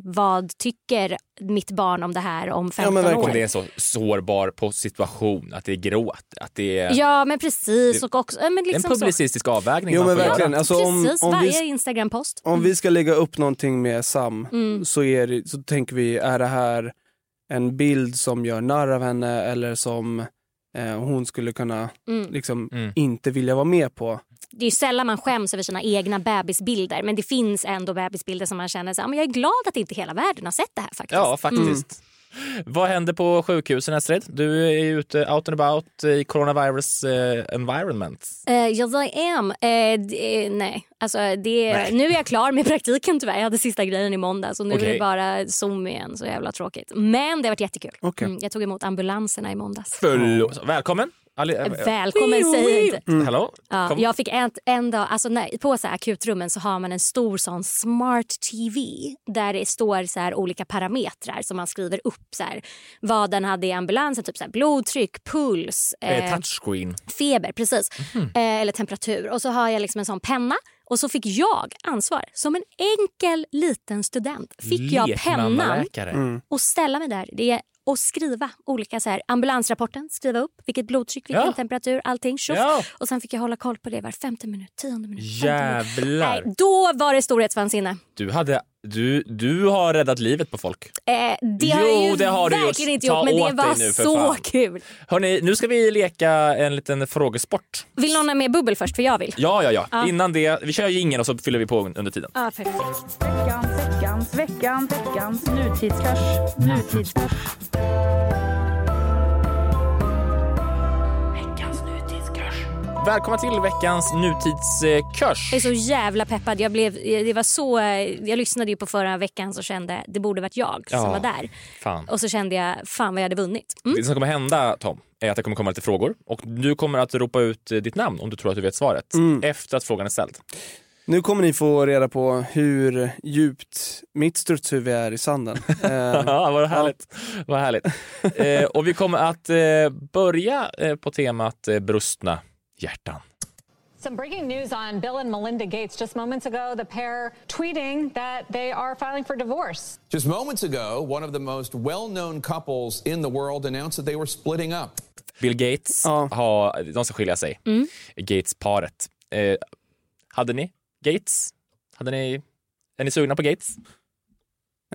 Speaker 4: vad tycker mitt barn om det här om 15
Speaker 5: verkligen.
Speaker 4: år?
Speaker 2: Om det är en så sårbar på situation, att det är gråt, att det är
Speaker 4: Ja, men precis.
Speaker 2: Det-
Speaker 4: Och också, ja, men liksom
Speaker 2: en publicistisk avvägning
Speaker 5: Jo,
Speaker 2: man
Speaker 5: men
Speaker 2: får
Speaker 5: verkligen.
Speaker 2: göra.
Speaker 5: Alltså,
Speaker 4: så.
Speaker 5: om,
Speaker 4: Precis,
Speaker 5: om,
Speaker 4: varje
Speaker 5: vi,
Speaker 4: Instagram-post.
Speaker 5: om vi ska lägga upp någonting med Sam
Speaker 4: Mm.
Speaker 5: så, är, det- så tänker vi, är det här en bild som gör narr av henne eller som eh, hon skulle kunna
Speaker 4: Mm.
Speaker 5: liksom
Speaker 2: Mm.
Speaker 5: inte vilja vara med på?
Speaker 4: Det är ju sällan man skäms över sina egna bebisbilder men det finns ändå bebisbilder som man känner så här, "Ja, men jag är glad att inte hela världen har sett det här. faktiskt.
Speaker 2: Ja, faktiskt.
Speaker 4: Mm.
Speaker 2: Vad händer på sjukhusen, Estrid? Du är ju ute out and about i coronavirus eh, environment.
Speaker 4: Eh, ja, I am. Eh, d- eh, nej. Alltså, det, Nu är jag klar med praktiken tyvärr. Jag hade sista grejen i måndag så nu är
Speaker 2: Okej.
Speaker 4: det bara Zoom igen. Så jävla tråkigt. Men det har varit jättekul.
Speaker 5: Okej.
Speaker 4: Mm, jag tog emot ambulanserna i måndags.
Speaker 2: Förlåt. Mm. Välkommen! Ali-
Speaker 4: Eh, Välkommen säger jag inte.
Speaker 2: Hallå?
Speaker 4: Ja,
Speaker 2: Kom.
Speaker 4: jag fick en, en dag, alltså när, på så här akutrummen så har man en stor sån smart tv där det står så här olika parametrar som man skriver upp. Så här, vad den hade i ambulansen, typ så här, blodtryck, puls,
Speaker 2: Eh, Mhm.
Speaker 4: eh,
Speaker 2: touchscreen.
Speaker 4: feber precis, eh, eller temperatur. Och så har jag liksom en sån penna och så fick jag ansvar. Som en enkel liten student fick jag pennan
Speaker 2: Lekmannaläkare.
Speaker 4: och ställa mig där. Det är och skriva olika så här, ambulansrapporten, skriva upp vilket blodtryck, vilken
Speaker 2: Ja.
Speaker 4: temperatur, allting. Tjoff.
Speaker 2: Ja,
Speaker 4: Och sen fick jag hålla koll på det var femte minut, tionde minut. femte minut. Nej,
Speaker 2: jävlar.
Speaker 4: då var det storhetsvansinne.
Speaker 2: Du, hade, du, du har räddat livet på folk.
Speaker 4: Eh, det
Speaker 2: Jo,
Speaker 4: har jag ju
Speaker 2: det har du
Speaker 4: verkligen
Speaker 2: gjort.
Speaker 4: inte
Speaker 2: Ta
Speaker 4: gjort, men det
Speaker 2: åt dig
Speaker 4: var
Speaker 2: nu, för
Speaker 4: så
Speaker 2: fan.
Speaker 4: kul.
Speaker 2: Hörni, nu ska vi leka en liten frågesport.
Speaker 4: Vill någon ha med bubbel först? För jag vill.
Speaker 2: Ja, ja, ja.
Speaker 4: Ja.
Speaker 2: Innan det, vi kör ju ingen och så fyller vi på under tiden.
Speaker 4: Ja, perfekt.
Speaker 3: Veckans, veckans, veckans, veckans nutidskurs. Nutidskurs.
Speaker 2: Välkomna till veckans nutidskurs.
Speaker 4: Jag är så jävla peppad. Jag, blev, eh, det var så, eh, jag lyssnade ju på förra veckan och kände det borde varit jag
Speaker 2: Ja.
Speaker 4: som var där.
Speaker 2: Fan.
Speaker 4: Och så kände jag fan vad jag hade vunnit. Mm.
Speaker 2: Det som kommer hända, Tom, är att det kommer komma lite frågor och du kommer att ropa ut eh, ditt namn om du tror att du vet svaret efter att frågan är ställd.
Speaker 5: Nu kommer ni få reda på hur djupt mitt strutshuvud är i sanden. Eh,
Speaker 2: Ja, vad härligt. Vad härligt. eh, och vi kommer att eh, börja eh, på temat eh, brustna hjärtan.
Speaker 9: Some breaking news on Bill and Melinda Gates. Just moments ago, the pair tweeting that they are filing for divorce.
Speaker 10: Just moments ago, one of the most well known couples in the world announced that they were splitting up.
Speaker 2: Bill Gates,
Speaker 5: Ja.
Speaker 2: har, de ska skilja sig.
Speaker 4: Mm.
Speaker 2: Gates-paret. Eh, hade ni Gates? Hade ni, är ni sugna på Gates?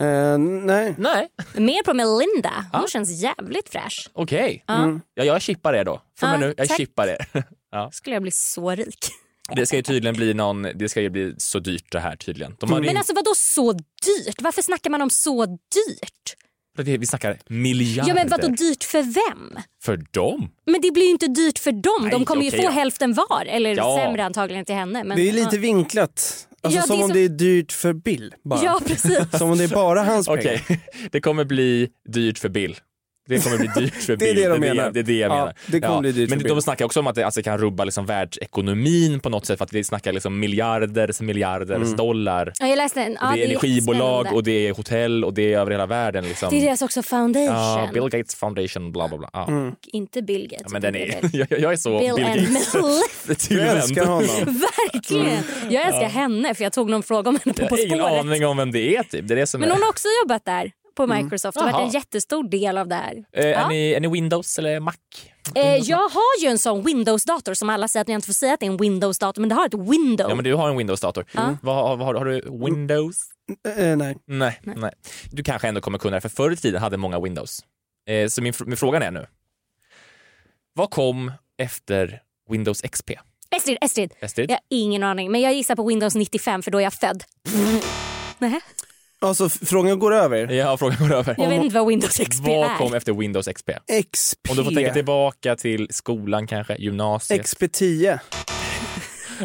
Speaker 5: eh, nej.
Speaker 2: Nej.
Speaker 4: Mer på Melinda. Hon känns jävligt fräsch.
Speaker 2: Okej.
Speaker 4: Ja.
Speaker 2: Ja, jag chippar er då. För
Speaker 4: Ja,
Speaker 2: mig nu, jag
Speaker 4: tack.
Speaker 2: chippar er.
Speaker 4: Skulle jag bli så rik.
Speaker 2: Det ska ju tydligen bli någon, det ska ju bli så dyrt det här tydligen. De har
Speaker 4: Men
Speaker 2: ringt,
Speaker 4: alltså vad då så dyrt? Varför snackar man om så dyrt?
Speaker 2: vi snackar miljarder.
Speaker 4: Ja men vadå dyrt för vem?
Speaker 2: För dem?
Speaker 4: Men det blir ju inte dyrt för dem.
Speaker 2: Nej,
Speaker 4: De kommer ju
Speaker 2: okej
Speaker 4: få
Speaker 2: då.
Speaker 4: hälften var. Eller
Speaker 2: Ja.
Speaker 4: sämre antagligen till henne. Men,
Speaker 5: Det är lite vinklat. Alltså
Speaker 4: Ja,
Speaker 5: som
Speaker 4: det är
Speaker 5: om
Speaker 4: så-
Speaker 5: det är dyrt för Bill. Bara.
Speaker 4: Ja precis.
Speaker 5: Som om det är bara hans pengar.
Speaker 2: Okej, det kommer bli dyrt för Bill. Det kommer bli dyrt för
Speaker 5: Det är
Speaker 2: Bill.
Speaker 5: det de menar.
Speaker 2: Det är det jag
Speaker 5: Ja,
Speaker 2: menar.
Speaker 5: det kommer bli dyrt
Speaker 2: men
Speaker 5: för
Speaker 2: de
Speaker 5: Bill.
Speaker 2: snackar också om att det alltså, kan rubba liksom världsekonomin på något sätt för att vi snackar liksom miljarders miljarders
Speaker 5: Mm.
Speaker 2: dollar.
Speaker 4: Ja, jag läste en. Ja,
Speaker 2: det är energibolag
Speaker 4: jättespännande.
Speaker 2: och det är hotell och det är över hela världen. Liksom.
Speaker 4: Det är deras också foundation.
Speaker 2: Ja, Bill Gates Foundation, bla bla bla. Ja.
Speaker 5: Mm.
Speaker 4: Inte Bill Gates.
Speaker 2: Ja, men den
Speaker 4: utan
Speaker 2: är, jag, jag är så
Speaker 4: Bill,
Speaker 2: Bill,
Speaker 4: Bill and
Speaker 2: Gates.
Speaker 4: Melinda.
Speaker 5: Jag
Speaker 2: Tillvänd.
Speaker 5: älskar honom.
Speaker 4: Verkligen. Jag älskar henne för jag tog någon fråga om henne på
Speaker 2: Mm. Jag
Speaker 4: På
Speaker 2: har ingen
Speaker 4: spåret.
Speaker 2: aning om vem det är typ. Det är det som
Speaker 4: Men
Speaker 2: är.
Speaker 4: hon har också jobbat där på Microsoft och varit
Speaker 2: Jaha.
Speaker 4: en jättestor del av det här.
Speaker 2: Eh, är,
Speaker 4: Ja.
Speaker 2: ni, är ni Windows eller Mac?
Speaker 4: Eh, jag har ju en sån Windows-dator som alla säger att jag inte får säga att det är en Windows-dator men det har ett Windows.
Speaker 2: Ja men du har en Windows-dator. Vad, vad har, du- har du Windows?
Speaker 5: Eh, nej.
Speaker 2: Nej, nej. Du kanske ändå kommer kunna det för förr i tiden hade många Windows. Eh, så min, fr- min fråga är nu. Vad kom efter Windows XP?
Speaker 4: Estrid, Estrid.
Speaker 2: Estrid?
Speaker 4: Jag har ingen aning men jag gissar på Windows 95 för då är jag född. Nej,
Speaker 5: Alltså f- frågan går över.
Speaker 2: Ja, frågan går över.
Speaker 4: jag vet inte vad Windows XP
Speaker 2: Vad
Speaker 4: är.
Speaker 2: kom efter Windows XP?
Speaker 5: XP.
Speaker 2: Om du får tänka tillbaka till skolan kanske, gymnasiet.
Speaker 5: XP10.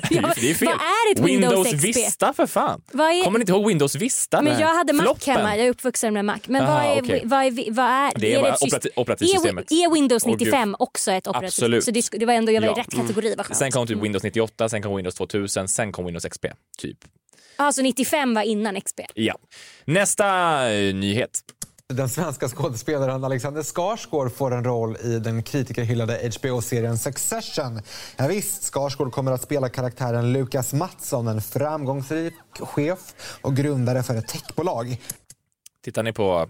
Speaker 2: Det är- det är fel.
Speaker 4: Vad är ett Windows
Speaker 2: Windows
Speaker 4: 6P?
Speaker 2: Vista för fan.
Speaker 4: Vad är-
Speaker 2: Kommer ni inte ihåg Windows Vista?
Speaker 4: Men jag hade Mac
Speaker 2: Floppen.
Speaker 4: hemma, jag är uppvuxen med Mac. Men
Speaker 2: Aha,
Speaker 4: vad är,
Speaker 2: okej.
Speaker 4: vad är, vad är,
Speaker 2: Det är bara
Speaker 4: ett syst-
Speaker 2: operati- operativsystemet.
Speaker 4: Är, är Windows
Speaker 2: Åh, gud.
Speaker 4: 95 också ett operativsystem?
Speaker 2: Absolut.
Speaker 4: Så det, sk- det var ändå, jag var
Speaker 2: Ja.
Speaker 4: i rätt kategori, vad skönt.
Speaker 2: Sen kom typ Windows 98, sen kom Windows 2000, sen kom Windows XP. Typ.
Speaker 4: Alltså 95 var innan XP.
Speaker 2: Ja. Nästa eh, nyhet.
Speaker 11: Den svenska skådespelaren Alexander Skarsgård får en roll i den kritikerhyllade HBO-serien Succession. Ja, visst, Skarsgård kommer att spela karaktären Lukas Mattsson, en framgångsrik chef och grundare för ett techbolag.
Speaker 2: Tittar ni på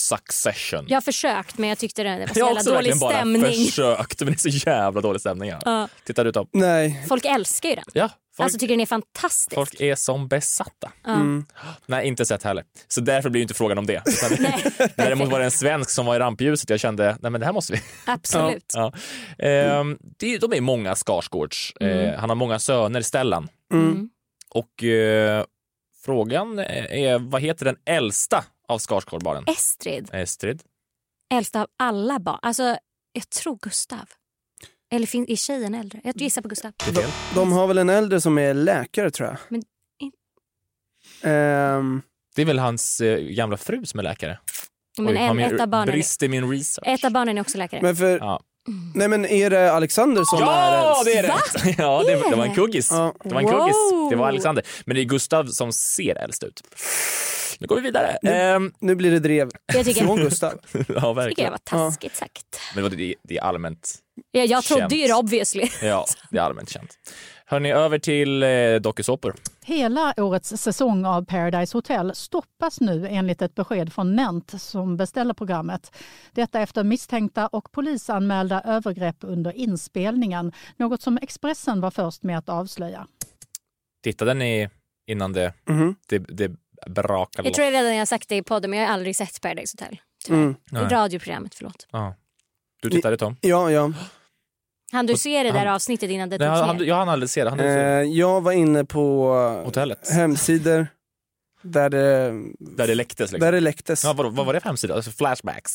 Speaker 2: Succession?
Speaker 4: Jag har försökt men jag tyckte det var så
Speaker 2: Jag har
Speaker 4: Alltså, jävla
Speaker 2: också
Speaker 4: dålig
Speaker 2: verkligen bara
Speaker 4: stämning.
Speaker 2: försökt, men det är så jävla dålig stämning. här.
Speaker 4: Ja.
Speaker 2: Tittar du Tom?
Speaker 5: Nej.
Speaker 4: Folk älskar ju den.
Speaker 2: Ja, folk,
Speaker 4: Alltså tycker den är fantastisk.
Speaker 2: folk är som besatta.
Speaker 4: Ja.
Speaker 2: Nej, inte sett heller. Så därför blir det inte frågan om det. Utan- Däremot var det en svensk som var i rampljuset jag kände, nej men det här måste vi.
Speaker 4: Absolut.
Speaker 2: Ja. Ehm, det, är- de är många Skarsgårds. Eh,
Speaker 4: Mm.
Speaker 2: han har många söner, Stellan.
Speaker 5: Mm.
Speaker 2: Och eh, frågan är, vad heter den äldsta av Skarsgårdbarnen?
Speaker 4: Estrid,
Speaker 2: Estrid.
Speaker 4: äldsta av alla barn. Alltså jag tror Gustav. Eller fin- är tjejen äldre? Jag gissar på Gustav.
Speaker 2: Det är fel.
Speaker 5: De har väl en äldre som är läkare tror jag.
Speaker 4: Men-
Speaker 5: Ehm,
Speaker 2: Det är väl hans eh, gamla fru som är läkare?
Speaker 4: Men en,
Speaker 2: min-
Speaker 4: ett av barnen
Speaker 2: brist i min research.
Speaker 4: är, ett av barnen är också läkare.
Speaker 5: men för...
Speaker 2: Ja.
Speaker 5: Nej men är det Alexander som är
Speaker 2: Ja,
Speaker 5: äldst?
Speaker 2: det är rätt! Ja, det, det var en kuggis.
Speaker 5: Ja.
Speaker 2: Det var en
Speaker 4: Wow.
Speaker 2: kuggis. Det var Alexander. Men det är Gustav som ser äldst ut. Nu går vi vidare. Ehm,
Speaker 5: Nu blir det drev
Speaker 4: Jag tycker,
Speaker 5: från
Speaker 4: jag
Speaker 5: Gustav.
Speaker 2: ja,
Speaker 4: tycker jag
Speaker 2: verkligen.
Speaker 4: var taskigt sagt.
Speaker 2: Men det- det, det är allmänt
Speaker 4: Ja, jag trodde ju det
Speaker 2: Känt.
Speaker 4: obviously.
Speaker 2: Ja, det är allmänt känt. Hörni, över till eh, dokusåpor.
Speaker 3: Hela årets säsong av Paradise Hotel stoppas nu enligt ett besked från Nent som beställer programmet. Detta efter misstänkta och polisanmälda övergrepp under inspelningen, något som Expressen var först med att avslöja.
Speaker 2: Tittade ni innan det,
Speaker 5: Mhm.
Speaker 2: det, det brakade
Speaker 4: Jag tror jag redan jag har sagt det i podden men jag har aldrig sett Paradise Hotel. Tyvärr.
Speaker 5: Mm.
Speaker 2: Nej.
Speaker 4: I radioprogrammet, förlåt.
Speaker 2: Ja. Du tittade Tom?
Speaker 5: Ja, ja.
Speaker 4: Han du ser det där
Speaker 2: Han-
Speaker 4: avsnittet innan det
Speaker 2: Nej,
Speaker 4: togs
Speaker 2: han,
Speaker 4: ner?
Speaker 2: han, jag hann aldrig se det. Han aldrig se det.
Speaker 5: Eh, jag var inne på
Speaker 2: Hotellet.
Speaker 5: hemsidor där det,
Speaker 2: Där det läcktes liksom.
Speaker 5: där det läcktes.
Speaker 2: Ja, vad, vad var det för hemsida? Alltså flashbacks?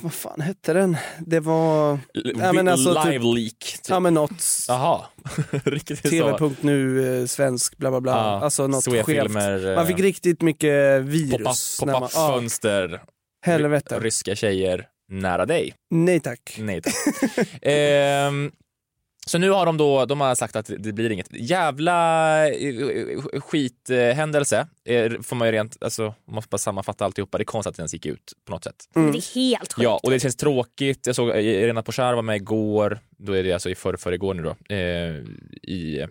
Speaker 5: Vad fan hette den? Det var...
Speaker 2: L-
Speaker 5: Ja, men alltså typ-
Speaker 2: live leak? Typ.
Speaker 5: Ja men något.
Speaker 2: Jaha. Riktigt typ så.
Speaker 5: TV.nu, eh, svensk, bla bla bla.
Speaker 2: Ja,
Speaker 5: alltså något skevt.
Speaker 2: Svefilmer,
Speaker 5: Man fick riktigt mycket
Speaker 2: poppa,
Speaker 5: virus. när
Speaker 2: poppa
Speaker 5: man- ja,
Speaker 2: fönster, Mm.
Speaker 5: helvete.
Speaker 2: ryska tjejer nära dig.
Speaker 5: Nej tack.
Speaker 2: Nej tack. Ehm, så nu har de då, de har sagt att det blir inget. Jävla eh, skithändelse, får man ju rent, alltså om man får bara sammanfatta alltihopa, det är konstigt att det ens gick ut på något sätt.
Speaker 4: Men
Speaker 5: Mm.
Speaker 4: Det är helt sjukt.
Speaker 2: Ja, och det känns tråkigt. Jag såg eh, Irena Pochar var med igår, då är det alltså i förrförr igår nu då, eh, i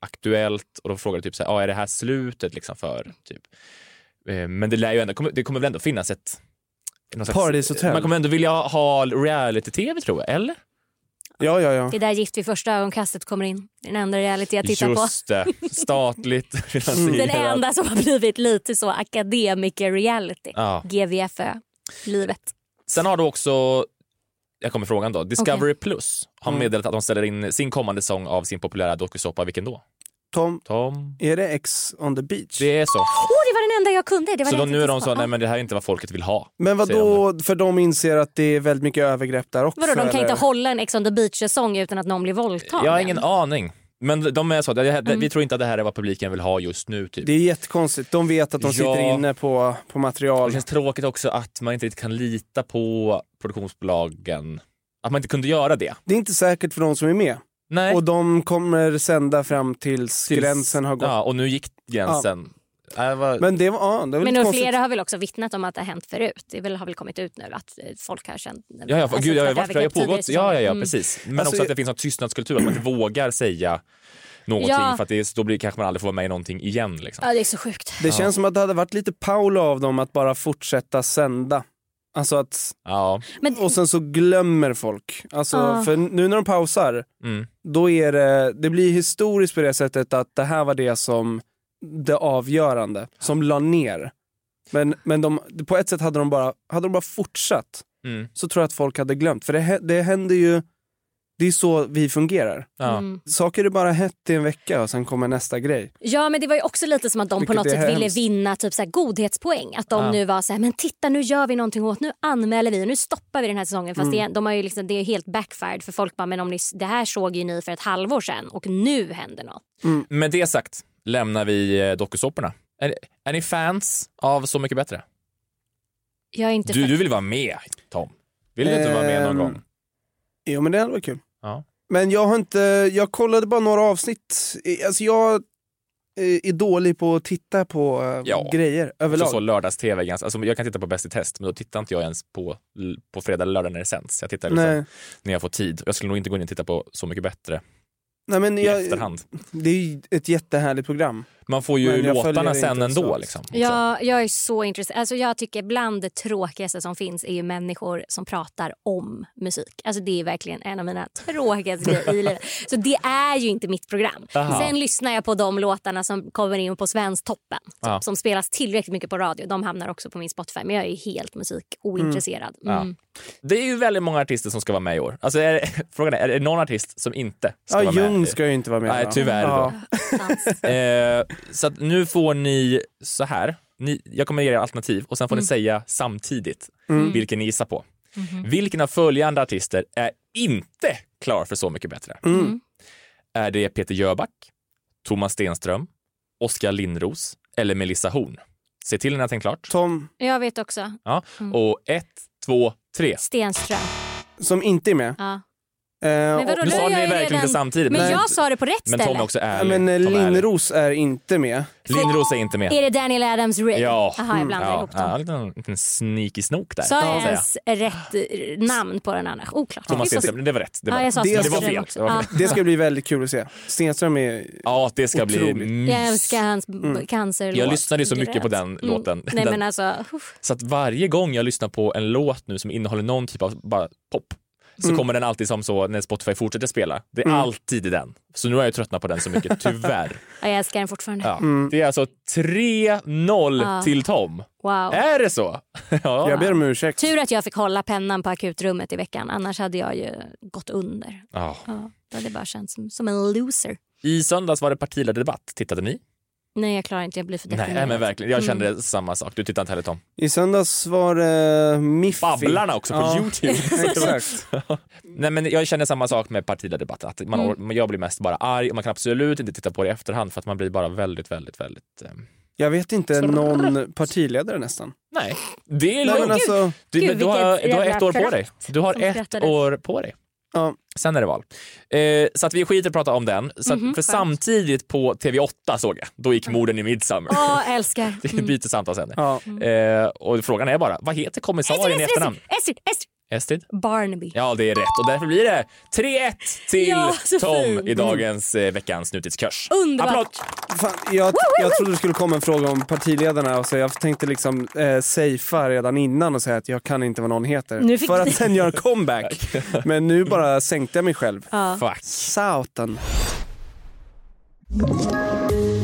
Speaker 2: Aktuellt och de frågade typ så här, ah, är det här slutet liksom för, typ. Eh, men det lär ju ändå, kommer- det kommer väl ändå finnas ett någon slags-
Speaker 5: Paradishotell.
Speaker 2: Man kommer ändå vilja ha reality-tv tror jag, eller?
Speaker 5: Ja ja ja.
Speaker 4: Det är där Gift vid första ögonkastet kommer in. Den enda reality jag tittar på. Mm.
Speaker 2: Just det, statligt
Speaker 4: Den
Speaker 2: finansierat.
Speaker 4: enda som har blivit lite så akademiker-reality.
Speaker 2: Ja.
Speaker 4: GVFÖ. Livet.
Speaker 2: Sen har du också, jag kommer frågan då, Discovery Plus
Speaker 4: Mm.
Speaker 2: har meddelat att de ställer in sin kommande sång av sin populära dokusåpa, vilken då?
Speaker 5: Tom,
Speaker 2: Tom?
Speaker 5: är det Ex on the beach?
Speaker 2: Det är så.
Speaker 4: Åh, det var den enda jag kunde! Det var
Speaker 2: Så
Speaker 4: det
Speaker 2: då
Speaker 4: jag
Speaker 2: nu är de
Speaker 4: tänkte
Speaker 2: så,
Speaker 4: på.
Speaker 2: nej men det här är inte vad folket vill ha.
Speaker 5: Men vad
Speaker 2: säger de
Speaker 5: då? för de inser att det är väldigt mycket övergrepp där också?
Speaker 4: Vadå, de kan
Speaker 5: eller?
Speaker 4: inte hålla en Ex on the beach-säsong utan att någon blir
Speaker 2: Ja.
Speaker 4: våldtagen?
Speaker 2: Jag har ingen aning. Men de är så, det här, vi tror inte att det här är vad publiken vill ha just nu. Typ.
Speaker 5: Mm. Det
Speaker 2: Det,
Speaker 5: är jättekonstigt. De vet att de sitter
Speaker 2: Ja.
Speaker 5: inne på, på material.
Speaker 2: känns tråkigt också att man inte riktigt kan lita på produktionsbolagen. Att man inte kunde göra det.
Speaker 5: Det är inte säkert för de som är med.
Speaker 2: Nej.
Speaker 5: Och de kommer sända fram tills,
Speaker 2: Tills-
Speaker 5: gränsen har gått.
Speaker 2: Ja, och nu gick gränsen. Äh, Ja. Det var,
Speaker 5: Men det var, ja, det var
Speaker 4: Men
Speaker 5: lite
Speaker 4: nog
Speaker 5: konstigt.
Speaker 4: flera har väl också vittnat om att det har hänt förut. Det väl, har väl kommit ut nu att eh, folk har känt... Alltså,
Speaker 2: ja, ja, gud, jag har ju varit,
Speaker 4: övergrepp
Speaker 2: det har ju
Speaker 4: tidigare
Speaker 2: pågått.
Speaker 4: i säsongen.
Speaker 2: Ja, ja, ja,
Speaker 4: Mm.
Speaker 2: precis. Men
Speaker 5: Alltså,
Speaker 2: också att det finns en tystnadskultur, att man inte vågar säga någonting
Speaker 4: Ja.
Speaker 2: för att det, är- då blir, kanske man aldrig får vara med i någonting igen. Liksom.
Speaker 4: Ja, det är så sjukt.
Speaker 5: Det känns som att det hade varit lite Paolo av dem att bara fortsätta sända. Alltså att,
Speaker 2: Ja.
Speaker 4: Men
Speaker 5: och sen så glömmer folk. Alltså,
Speaker 4: Ja.
Speaker 5: För nu när de pausar,
Speaker 2: Mm.
Speaker 5: då är det, det blir historiskt på det sättet att det här var det som det avgörande, som la ner. Men, men de, på ett sätt hade de bara, hade de bara fortsatt
Speaker 2: Mm.
Speaker 5: så tror jag att folk hade glömt. För det, hä- det händer ju, Det är så vi fungerar.
Speaker 4: Ja. Mm.
Speaker 5: Saker är bara hett i en vecka och sen kommer nästa grej.
Speaker 4: Ja men det var ju också lite som att de på
Speaker 5: Vilket
Speaker 4: något
Speaker 5: är
Speaker 4: sätt ville
Speaker 5: hemskt.
Speaker 4: vinna typ så här godhetspoäng. Att de
Speaker 5: Ja.
Speaker 4: nu var så här, men titta nu gör vi någonting åt, nu anmäler vi och nu stoppar vi den här säsongen. Fast
Speaker 5: Mm.
Speaker 4: det, är- de har ju liksom, det är ju helt backfired för folk bara, men om ni, det här såg ju ni för ett halvår sedan och nu händer något.
Speaker 2: Med det sagt lämnar vi eh, dokusåporna. Är, är ni fans av Så mycket bättre?
Speaker 4: Jag är inte
Speaker 2: Du,
Speaker 4: för-
Speaker 2: du vill vara med, Tom. Vill du inte vara med någon
Speaker 5: Ehm,
Speaker 2: gång?
Speaker 5: Jo men det hade varit kul.
Speaker 2: Ja.
Speaker 5: Men jag har inte, jag kollade bara några avsnitt. I- Alltså jag eh, är dålig på att titta på eh,
Speaker 2: Ja.
Speaker 5: grejer överlag.
Speaker 2: Så, så lördags-tv. ganska- Alltså, jag kan titta på Bäst i test, men då tittar inte jag ens på, på fredag eller lördag när det sänds. Jag tittar liksom
Speaker 5: Nej.
Speaker 2: när jag får tid. Jag skulle nog inte gå in och titta på Så mycket bättre
Speaker 5: Nej, men
Speaker 2: i
Speaker 5: jag,
Speaker 2: efterhand.
Speaker 5: Det är ju ett jättehärligt program.
Speaker 2: Man får
Speaker 5: Men
Speaker 2: ju
Speaker 5: jag följer
Speaker 2: låtarna
Speaker 5: det
Speaker 2: sen
Speaker 5: inte
Speaker 2: ändå.
Speaker 5: snabbt.
Speaker 2: Liksom.
Speaker 4: Ja, jag är så intresserad. Alltså jag tycker bland det tråkigaste som finns är ju människor som pratar om musik. Alltså det är verkligen en av mina tråkigaste grejer i livet. Så det är ju inte mitt program.
Speaker 2: Aha.
Speaker 4: Sen lyssnar jag på de låtarna som kommer in på Svensktoppen.
Speaker 2: Ja.
Speaker 4: Som spelas tillräckligt mycket på radio. De hamnar också på min Spotify. Men jag är ju helt musikointresserad.
Speaker 2: Ja.
Speaker 4: Mm.
Speaker 2: Det är ju väldigt många artister som ska vara med i år. Alltså, är, frågan är, är det någon artist som inte ska
Speaker 5: Ja,
Speaker 2: vara med?
Speaker 5: Jung ska ju inte vara med.
Speaker 2: Nej,
Speaker 5: va?
Speaker 2: tyvärr
Speaker 5: Ja.
Speaker 2: då. Eh, så att nu får ni så här. Ni, jag kommer ge er alternativ och sen
Speaker 4: Mm.
Speaker 2: får ni säga samtidigt
Speaker 5: Mm.
Speaker 2: vilken ni gissar på.
Speaker 4: Mhm.
Speaker 2: Vilken av följande artister är inte klar för Så mycket bättre?
Speaker 5: Mm.
Speaker 2: Är det Peter Jöback, Thomas Stenström, Oskar Lindros eller Melissa Horn? Se till när ni har tänkt klart.
Speaker 5: Tom,
Speaker 4: Jag vet också.
Speaker 2: Ja.
Speaker 4: Mm.
Speaker 2: Och ett, två, tre.
Speaker 4: Stenström.
Speaker 5: som inte är med.
Speaker 4: Ja.
Speaker 5: Eh,
Speaker 4: Men vadå,
Speaker 2: Nu
Speaker 4: då
Speaker 2: sa
Speaker 4: är
Speaker 2: ni
Speaker 4: jag ju
Speaker 2: verkligen
Speaker 4: redan-
Speaker 2: inte samtidigt.
Speaker 4: Men
Speaker 2: men-
Speaker 4: jag sa det på rätt
Speaker 2: Men
Speaker 4: ställe.
Speaker 2: Tom är också
Speaker 5: Ja,
Speaker 2: ärlig.
Speaker 5: men eh,
Speaker 2: Tom är ärlig.
Speaker 5: Lindros är inte med.
Speaker 2: Lindros är inte med.
Speaker 4: Är det Daniel Adams Ray?
Speaker 2: Ja. Mm.
Speaker 4: Aha, jag blandade
Speaker 2: ja,
Speaker 4: ihop dem.
Speaker 2: ja, en liten- liten sneaky snok där.
Speaker 4: Sa
Speaker 2: kan man
Speaker 4: jag
Speaker 2: säga.
Speaker 4: ens rätt eh, namn på den andra? Oklart.
Speaker 2: Thomas
Speaker 4: Vi får se.
Speaker 2: Stenström, det var rätt. Det var,
Speaker 4: Ja, jag
Speaker 2: rätt.
Speaker 4: sa
Speaker 5: Det-
Speaker 2: det var
Speaker 4: Stenström
Speaker 2: fel.
Speaker 4: också.
Speaker 2: Det var
Speaker 4: Ja.
Speaker 2: fel.
Speaker 5: Det ska bli väldigt kul att se. Stenström är...
Speaker 2: Ja, det ska
Speaker 5: Otroligt.
Speaker 2: bli
Speaker 4: Jag
Speaker 2: mys.
Speaker 4: älskar hans mm. cancerlåt.
Speaker 2: Jag lyssnade ju så
Speaker 4: Gröt.
Speaker 2: mycket på den låten.
Speaker 4: Mm. Nej,
Speaker 2: Den-
Speaker 4: men alltså, uff.
Speaker 2: Så att varje gång jag lyssnar på en låt nu som innehåller någon typ av bara pop så kommer den alltid som så när Spotify fortsätter spela. Det är alltid i den. Så nu har jag tröttnat på den så mycket, tyvärr.
Speaker 4: ja, jag älskar den fortfarande.
Speaker 2: Ja.
Speaker 5: Mm.
Speaker 2: Det är alltså 3-0
Speaker 4: Ja.
Speaker 2: till Tom.
Speaker 4: Wow.
Speaker 2: Är det så? Ja.
Speaker 5: Jag ber om ursäkt.
Speaker 4: Tur att jag fick hålla pennan på akutrummet i veckan. Annars hade jag ju gått under.
Speaker 2: Ja.
Speaker 4: Ja, då hade jag bara känts som, som en loser.
Speaker 2: I söndags var det partiledardebatt. Tittade ni?
Speaker 4: Nej, jag klarar inte. Jag blir för
Speaker 2: Nej,
Speaker 4: deprimerad. Mm.
Speaker 2: men verkligen. Jag kände samma sak. Du tittade inte heller Tom.
Speaker 5: I söndags var det Miffi.
Speaker 2: Babblarna också på Youtube.
Speaker 5: Exakt.
Speaker 2: Nej, men jag känner samma sak med partiledardebatt. Att man, Jag blir mest bara arg och man kan absolut inte titta på det i efterhand för att man blir bara väldigt, väldigt, väldigt... ehm,
Speaker 5: Jag vet inte någon partiledare nästan.
Speaker 2: Nej, det är
Speaker 5: Nej, men
Speaker 2: lugnt.
Speaker 5: alltså,
Speaker 2: Du,
Speaker 4: Gud,
Speaker 2: men du, har,
Speaker 4: vilket
Speaker 2: du har ett
Speaker 4: jävla
Speaker 2: år på dig.
Speaker 4: förakt
Speaker 2: Du har
Speaker 4: som
Speaker 2: ett
Speaker 4: skrattades.
Speaker 2: år på dig.
Speaker 5: ja.
Speaker 2: Sen är det val. Eh, så att vi skiter i att prata om den. Så att,
Speaker 4: Mhm,
Speaker 2: för
Speaker 4: skönt.
Speaker 2: samtidigt på TV8 såg jag, då gick morden i Midsummer.
Speaker 4: Åh, älskar.
Speaker 2: Det byter samtalsämne.
Speaker 5: Ja.
Speaker 4: Mm.
Speaker 2: Eh, och frågan är bara, vad heter kommissarien i efternamn?
Speaker 4: Estrid, Estrid.
Speaker 2: Estrid?
Speaker 4: Barnaby.
Speaker 2: Ja, det är rätt. Och därför blir det 3-1 till
Speaker 4: Ja, så
Speaker 2: Tom
Speaker 4: fint.
Speaker 2: i dagens eh, veckans nutidskurs.
Speaker 4: Underbart.
Speaker 2: Applåd!
Speaker 5: Fan, jag, jag trodde det skulle komma en fråga om partiledarna och så jag tänkte liksom eh, safea redan innan och säga att jag kan inte vad någon heter.
Speaker 4: Nu fick
Speaker 5: för
Speaker 4: du-
Speaker 5: att sen göra comeback. Men nu bara sänkte jag mig själv.
Speaker 2: Fuck.
Speaker 5: Satan.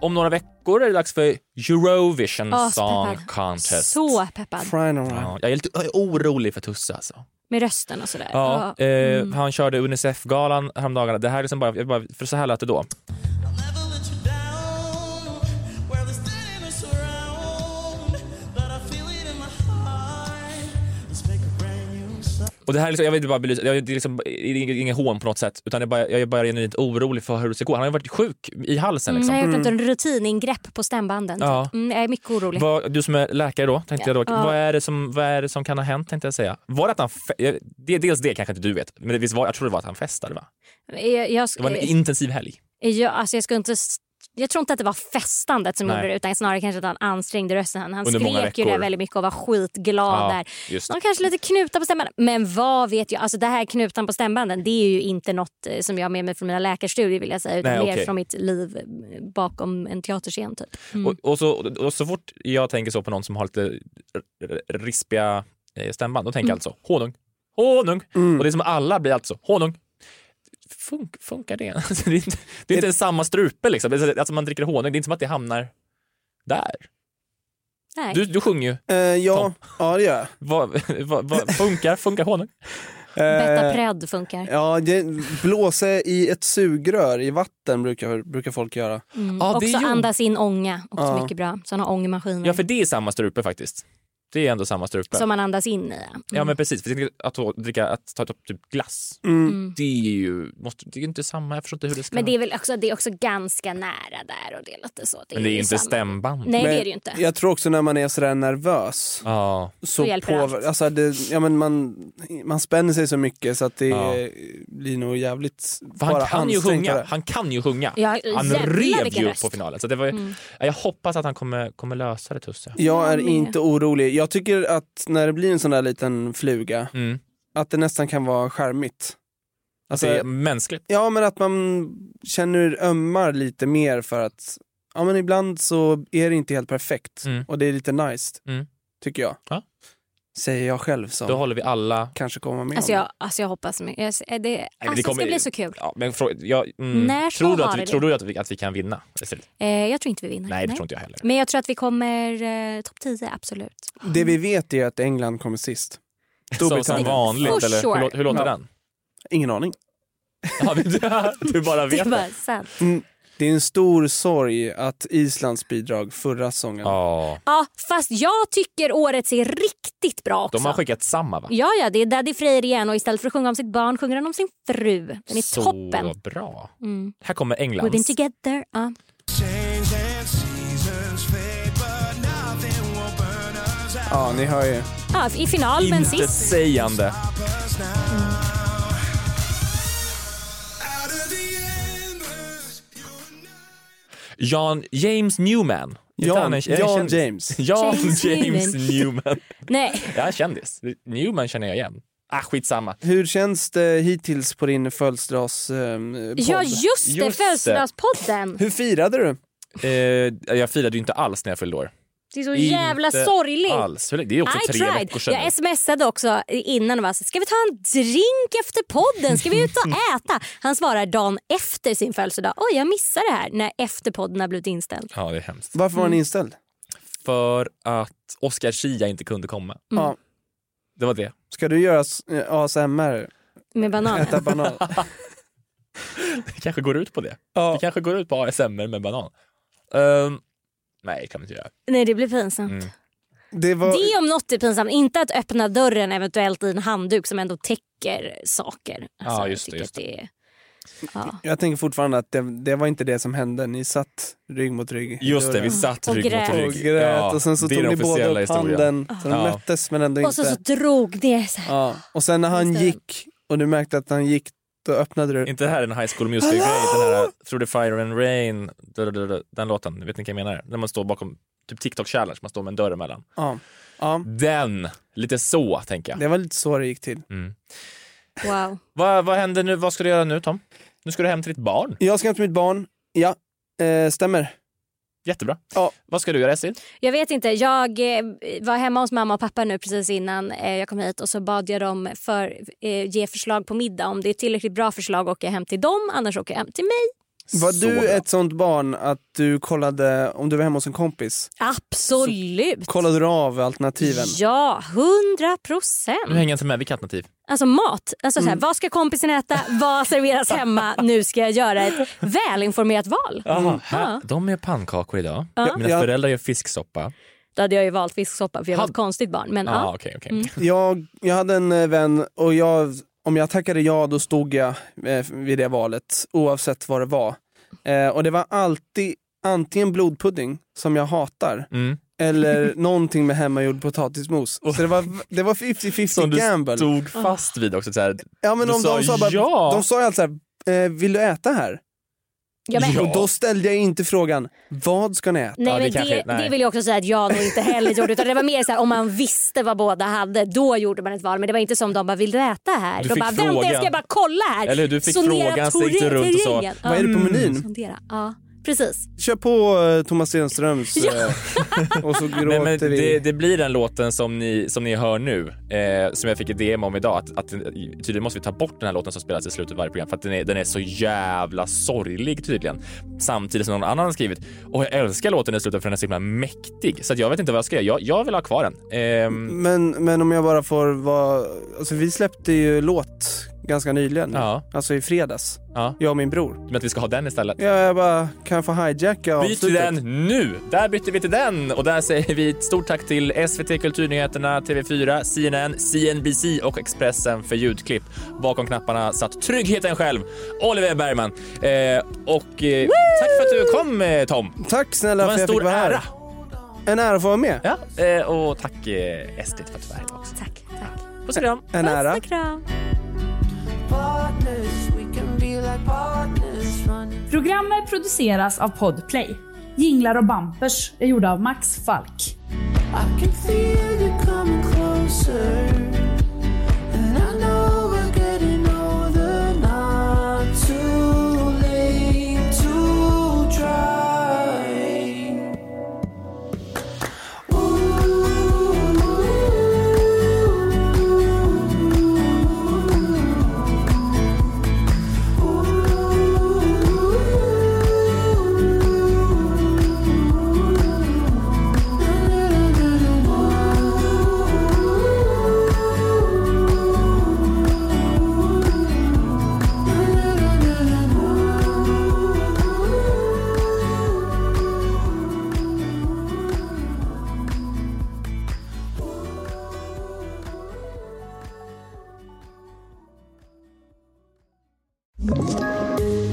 Speaker 2: Om några veckor är det dags för Eurovision
Speaker 4: Åh,
Speaker 2: Song
Speaker 4: peppad.
Speaker 2: Contest.
Speaker 4: Så peppad.
Speaker 5: Frying around.
Speaker 2: Ja, jag är lite jag är orolig för Tusse alltså.
Speaker 4: Med rösten och sådär.
Speaker 2: Ja,
Speaker 4: Ja. Mm.
Speaker 2: eh, Han körde Unicef-galan häromdagarna. Det här är liksom bara, jag bara, för så här lät det då. Och det här är liksom, jag vill bara belysa, jag- det är liksom det är ingen hån på något sätt, utan det är bara, jag är bara genuint orolig för hur det ska gå. Han har ju varit sjuk i halsen.
Speaker 4: Mm,
Speaker 2: Liksom.
Speaker 4: jag har gjort en rutiningrepp på stämbanden.
Speaker 2: Ja.
Speaker 4: Mm, jag är mycket orolig.
Speaker 2: Vad, du som är läkare då, tänkte jag då.
Speaker 4: Ja.
Speaker 2: Vad, är det som, vad är det som kan ha hänt tänkte jag säga. Var det att han, fe- jag- det, dels det kanske inte du vet, men det, visst var, jag tror det var att han festade va?
Speaker 4: Jag, jag,
Speaker 2: Det var en intensiv helg.
Speaker 4: Jag, alltså jag ska inte s- Jag tror inte att det var festandet som
Speaker 2: Nej.
Speaker 4: gjorde det utan snarare kanske att han ansträngde rösten. Han
Speaker 2: Under många
Speaker 4: skrek ju det
Speaker 2: veckor.
Speaker 4: väldigt mycket och var skitglad
Speaker 2: Ja,
Speaker 4: där.
Speaker 2: just.
Speaker 4: Typ, De kanske lite knutar på stämbanden. Men vad vet jag? Alltså det här knutan på stämbanden det är ju inte något eh, som jag har med mig från mina läkarstudier vill jag säga utan
Speaker 2: Nej,
Speaker 4: mer
Speaker 2: okej.
Speaker 4: från mitt liv eh, bakom en teaterscen typ. Mm.
Speaker 2: Och, och, så, och så fort jag tänker så på någon som har lite r- r- rispiga eh, stämband, då tänker
Speaker 4: Mm.
Speaker 2: jag alltså honung, honung. Och det är som alla blir alltså honung. Funk, funkar det? Alltså, det är inte, det är inte samma strupe liksom. Det är så- Alltså man dricker honung, det är inte som att det hamnar där.
Speaker 4: Nej.
Speaker 2: Du, du sjunger ju.
Speaker 5: Eh, ja, ja, det gör jag.
Speaker 2: Vad, vad, vad, funkar, funkar honung? eh,
Speaker 4: Betapred funkar.
Speaker 5: Eh, Ja, det, blåsa i ett sugrör i vatten brukar, brukar folk göra.
Speaker 4: Mm.
Speaker 2: Ja, det
Speaker 4: också
Speaker 2: är ju-
Speaker 4: andas in ånga, också
Speaker 5: Ja.
Speaker 4: mycket bra. Såna ångmaskiner
Speaker 2: Ja, för det är samma strupe faktiskt. Det är ändå samma strupe.
Speaker 4: som man andas in i. ja.
Speaker 2: Ja men precis, för att, att, dricka, att ta upp typ glass,
Speaker 4: Mm.
Speaker 2: det är ju måste, det är ju inte samma, jag förstår inte hur det ska
Speaker 4: Men det är väl också, det är också ganska nära där och det är lite så.
Speaker 2: Men det är ju inte
Speaker 4: samma.
Speaker 2: stämband.
Speaker 4: Nej, det
Speaker 5: Men
Speaker 4: är det ju inte.
Speaker 5: Jag tror också när man är sådär nervös
Speaker 2: ja.
Speaker 4: Då hjälper allt.
Speaker 5: alltså det, ja, men man, man spänner sig så mycket så att det
Speaker 2: Ja.
Speaker 5: eh, blir nog jävligt
Speaker 2: För han
Speaker 5: bara
Speaker 2: kan ju
Speaker 5: ansträngt av
Speaker 2: sjunga.
Speaker 5: det.
Speaker 2: Han kan ju sjunga.
Speaker 5: Ja,
Speaker 2: han
Speaker 5: jävlar
Speaker 2: rev
Speaker 5: vilken
Speaker 2: ju
Speaker 5: röst.
Speaker 2: på finalen. Så det var ju,
Speaker 5: Mm.
Speaker 2: Ja, Jag hoppas att han kommer, kommer lösa det Tusse.
Speaker 5: Jag är inte orolig. Jag tycker att när det blir en sån där liten fluga, att det nästan kan vara charmigt.
Speaker 2: Alltså, Mm. det är mänskligt.
Speaker 5: Ja, men att man känner ömmar lite mer för att ja, men ibland så är det inte helt perfekt
Speaker 2: Mm.
Speaker 5: och det är lite nice,
Speaker 2: Mm.
Speaker 5: tycker jag.
Speaker 2: Ja.
Speaker 5: Säger jag själv som
Speaker 2: Då håller vi alla...
Speaker 5: kanske kommer med
Speaker 4: Alltså
Speaker 5: om
Speaker 4: jag, alltså jag hoppas så mycket. Jag- Det,
Speaker 2: men
Speaker 4: alltså det,
Speaker 2: kommer-
Speaker 4: ska bli så kul.
Speaker 2: Ja, men frå, ja, mm.
Speaker 4: När ska
Speaker 2: tror du,
Speaker 4: ha
Speaker 2: att vi,
Speaker 4: det?
Speaker 2: tror du att vi, att vi kan vinna? Estrid?
Speaker 4: Eh, jag tror inte vi vinner.
Speaker 2: Nej, det tror inte jag heller.
Speaker 4: Men jag tror att vi kommer eh, topp 10, absolut.
Speaker 5: Det vi vet är att England kommer sist.
Speaker 2: som vanligt,
Speaker 4: For eller? Hur sure. lå- hur låter
Speaker 2: den?
Speaker 5: Ingen aning.
Speaker 2: Ja, men, du bara
Speaker 4: Det
Speaker 2: vet
Speaker 4: är bara
Speaker 2: det.
Speaker 4: sant.
Speaker 5: Mm. Det är en stor sorg att Islands bidrag förra säsongen.
Speaker 2: Ja.
Speaker 4: Ja, fast jag tycker året ser riktigt bra också.
Speaker 2: De har skickat samma va?
Speaker 4: Ja, ja, det är Daddy Freyr igen och istället för att sjunga om sitt barn sjunger han om sin fru. Den är
Speaker 2: Så
Speaker 4: toppen.
Speaker 2: bra.
Speaker 4: Mm.
Speaker 2: Här kommer
Speaker 4: We've been
Speaker 2: Englands.
Speaker 4: together. Ja.
Speaker 5: Ja, ni hör ju.
Speaker 4: Ja, I final, men
Speaker 2: Inte
Speaker 4: sist.
Speaker 2: sägande. Jan James Newman. Är
Speaker 5: Jan-
Speaker 2: inte han en- är det en
Speaker 5: Jan
Speaker 2: kändis?
Speaker 5: James.
Speaker 2: Jan
Speaker 4: James
Speaker 2: James,
Speaker 4: Newman.
Speaker 2: Newman.
Speaker 4: Nej.
Speaker 2: Jag är en kändis. Newman känner jag igen. Ah, skitsamma.
Speaker 5: Hur känns det hittills på din födelsedagspodd?
Speaker 4: Ja, just det. Födelsedagspodden.
Speaker 5: Hur firade du?
Speaker 2: Eh, jag firade ju inte alls när jag fyllde år.
Speaker 4: Det är så
Speaker 2: Inte
Speaker 4: jävla sorgligt.
Speaker 2: Alls. Hur länge- Det är också
Speaker 4: I
Speaker 2: tre
Speaker 4: tried.
Speaker 2: veckor sedan.
Speaker 4: Jag smsade också innan och var så, ska vi ta en drink efter podden? Ska vi ut och äta? Han svarar dagen efter sin födelsedag. Oj, jag missar det här när efter podden har blivit inställd.
Speaker 2: Ja, det är hemskt.
Speaker 5: Varför
Speaker 4: Mm.
Speaker 5: var den inställd?
Speaker 2: För att Oscar Schia inte kunde komma.
Speaker 4: Mm.
Speaker 5: Ja.
Speaker 2: Det var det.
Speaker 5: Ska du göra s- eh, ASMR?
Speaker 4: Med bananen.
Speaker 5: Äta banan?
Speaker 2: Det kanske går ut på det. Det kanske går ut på ASMR med banan. Ehm, nej, det kan vi inte göra.
Speaker 4: Nej, det blir pinsamt.
Speaker 2: Mm.
Speaker 5: Det var...
Speaker 4: Det om något är pinsamt. Inte att öppna dörren eventuellt i en handduk som ändå täcker saker. Alltså,
Speaker 5: Ja, just
Speaker 4: jag
Speaker 5: det,
Speaker 4: tycker
Speaker 5: just
Speaker 4: att det. är- Ja.
Speaker 5: Jag tänker fortfarande att det, det var inte det som hände. Ni satt rygg mot rygg. i
Speaker 2: Just det,
Speaker 5: dörren.
Speaker 2: vi satt
Speaker 4: Och
Speaker 2: rygg mot
Speaker 4: grät.
Speaker 2: rygg.
Speaker 5: Och grät
Speaker 2: Ja,
Speaker 5: och sen så
Speaker 2: det
Speaker 5: tog
Speaker 2: är den
Speaker 5: ni båda
Speaker 2: officiella
Speaker 5: upp
Speaker 2: historien.
Speaker 5: handen. Så de
Speaker 2: Ja.
Speaker 5: möttes men ändå
Speaker 4: Ah. Och så, så
Speaker 5: inte.
Speaker 4: drog det. Så här.
Speaker 5: Ja. Och sen när han gick och du märkte att han gick, då öppnade du.
Speaker 2: Inte det här är en High School Musical-grej, den här Through the Fire and Rain, dö, dö, dö, dö, den låten, vet ni vad jag menar? När man står bakom typ TikTok Challenge, man står med en dörr emellan.
Speaker 5: Ja. Ja.
Speaker 2: Den, lite så tänker jag.
Speaker 5: Det var lite så det gick till.
Speaker 4: Wow.
Speaker 2: Vad, vad händer nu, vad ska du göra nu Tom? Nu ska du hem till ditt barn.
Speaker 5: Jag ska hem till mitt barn. Ja, eh, stämmer.
Speaker 2: Jättebra.
Speaker 5: Ja.
Speaker 2: Vad ska du göra Estrid?
Speaker 4: Jag vet inte. Jag eh, var hemma hos mamma och pappa nu precis innan eh, jag kom hit och så bad jag dem för, eh, ge förslag på middag. Om det är tillräckligt bra förslag åker jag hem till dem, annars åker jag hem till mig.
Speaker 5: Var
Speaker 2: Så
Speaker 5: du
Speaker 2: bra.
Speaker 5: ett sånt barn att du kollade, om du var hemma hos en kompis,
Speaker 4: Absolut!
Speaker 5: kollade du av alternativen?
Speaker 4: Ja, hundra
Speaker 2: Nu hänger
Speaker 4: procent.
Speaker 2: jag inte med, vilka alternativ?
Speaker 4: Alltså mat. Alltså
Speaker 2: Mm.
Speaker 4: så här, Vad ska kompisen äta? Vad serveras hemma? Nu ska jag göra ett välinformerat val.
Speaker 5: Mm.
Speaker 2: Jaha,
Speaker 4: Ja.
Speaker 2: här, de gör pannkakor idag.
Speaker 4: Ja.
Speaker 2: Mina
Speaker 5: Ja.
Speaker 2: föräldrar gör fisksoppa.
Speaker 4: Då hade jag ju valt fisksoppa för jag var ett konstigt barn. Men,
Speaker 2: Ja,
Speaker 4: ja.
Speaker 2: okej, okej.
Speaker 4: Mm.
Speaker 5: Jag, jag hade en eh, vän och jag, om jag tackade ja då stod jag eh, vid det valet oavsett vad det var. Eh, och det var alltid antingen blodpudding som jag hatar
Speaker 2: Mm.
Speaker 5: eller någonting med hemmagjord potatismos. Så det var, det var
Speaker 2: Som
Speaker 5: 50-50
Speaker 2: du
Speaker 5: gamble.
Speaker 2: stod fast vid också. Så här,
Speaker 5: Ja men
Speaker 2: du
Speaker 5: om de sa bara,
Speaker 2: ja.
Speaker 5: de sa ju alltid såhär, eh, vill du äta här?
Speaker 4: Ja, men-
Speaker 5: Och då ställde jag inte frågan, vad ska ni äta?
Speaker 4: Nej, men det, det, vill jag också säga att jag nog inte heller gjorde. Utan det var mer så här, om man visste vad båda hade, då gjorde man ett val. Men det var inte som de bara, vill du äta här?
Speaker 2: Du
Speaker 4: de
Speaker 2: fick
Speaker 4: bara,
Speaker 2: frågan.
Speaker 4: vänta jag ska bara kolla här.
Speaker 2: Eller hur, du fick frågan, så gick du
Speaker 4: terrä-
Speaker 2: runt och sa,
Speaker 4: terrängen.
Speaker 5: "Vad är det på
Speaker 4: Mm.
Speaker 5: menyn?"
Speaker 4: Sondera. Ja, precis.
Speaker 5: Kör på eh, Thomas Stenströms eh, och så gråter
Speaker 2: Nej, men
Speaker 5: vi.
Speaker 2: det, det blir den låten som ni, som ni hör nu, eh, som jag fick ett DM om idag. Att, att, tydligen måste vi ta bort den här låten som spelas i slutet av varje program för att den är, den är så jävla sorglig tydligen. Samtidigt som någon annan har skrivit och jag älskar låten i slutet för den är så himla mäktig. Så att jag vet inte vad jag ska göra. Jag, jag vill ha kvar den. Ehm,
Speaker 5: Men, men om jag bara får vara... Alltså vi släppte ju låt ganska nyligen. Alltså i fredags. Jag och min bror.
Speaker 2: men att vi ska ha den istället.
Speaker 5: Ja, jag bara, kan jag få hijacka
Speaker 2: Byt till den nu! Där byter vi till den och där säger vi ett stort tack till SVT Kulturnyheterna, TV4, CNN, CNBC och Expressen för ljudklipp. Bakom knapparna satt tryggheten själv, Oliver Bergman. Eh, och eh, tack för att du kom eh, Tom.
Speaker 5: Tack snälla
Speaker 2: Det var en
Speaker 5: för att jag
Speaker 2: stor
Speaker 5: fick vara här.
Speaker 2: ära.
Speaker 5: En ära att få vara med.
Speaker 2: Ja, eh, och tack eh, SVT för att du var här idag också.
Speaker 4: Tack.
Speaker 2: Puss och kram.
Speaker 5: En ära.
Speaker 12: Programmet produceras av Podplay. Jinglar och bampers är gjorda av Max Falk.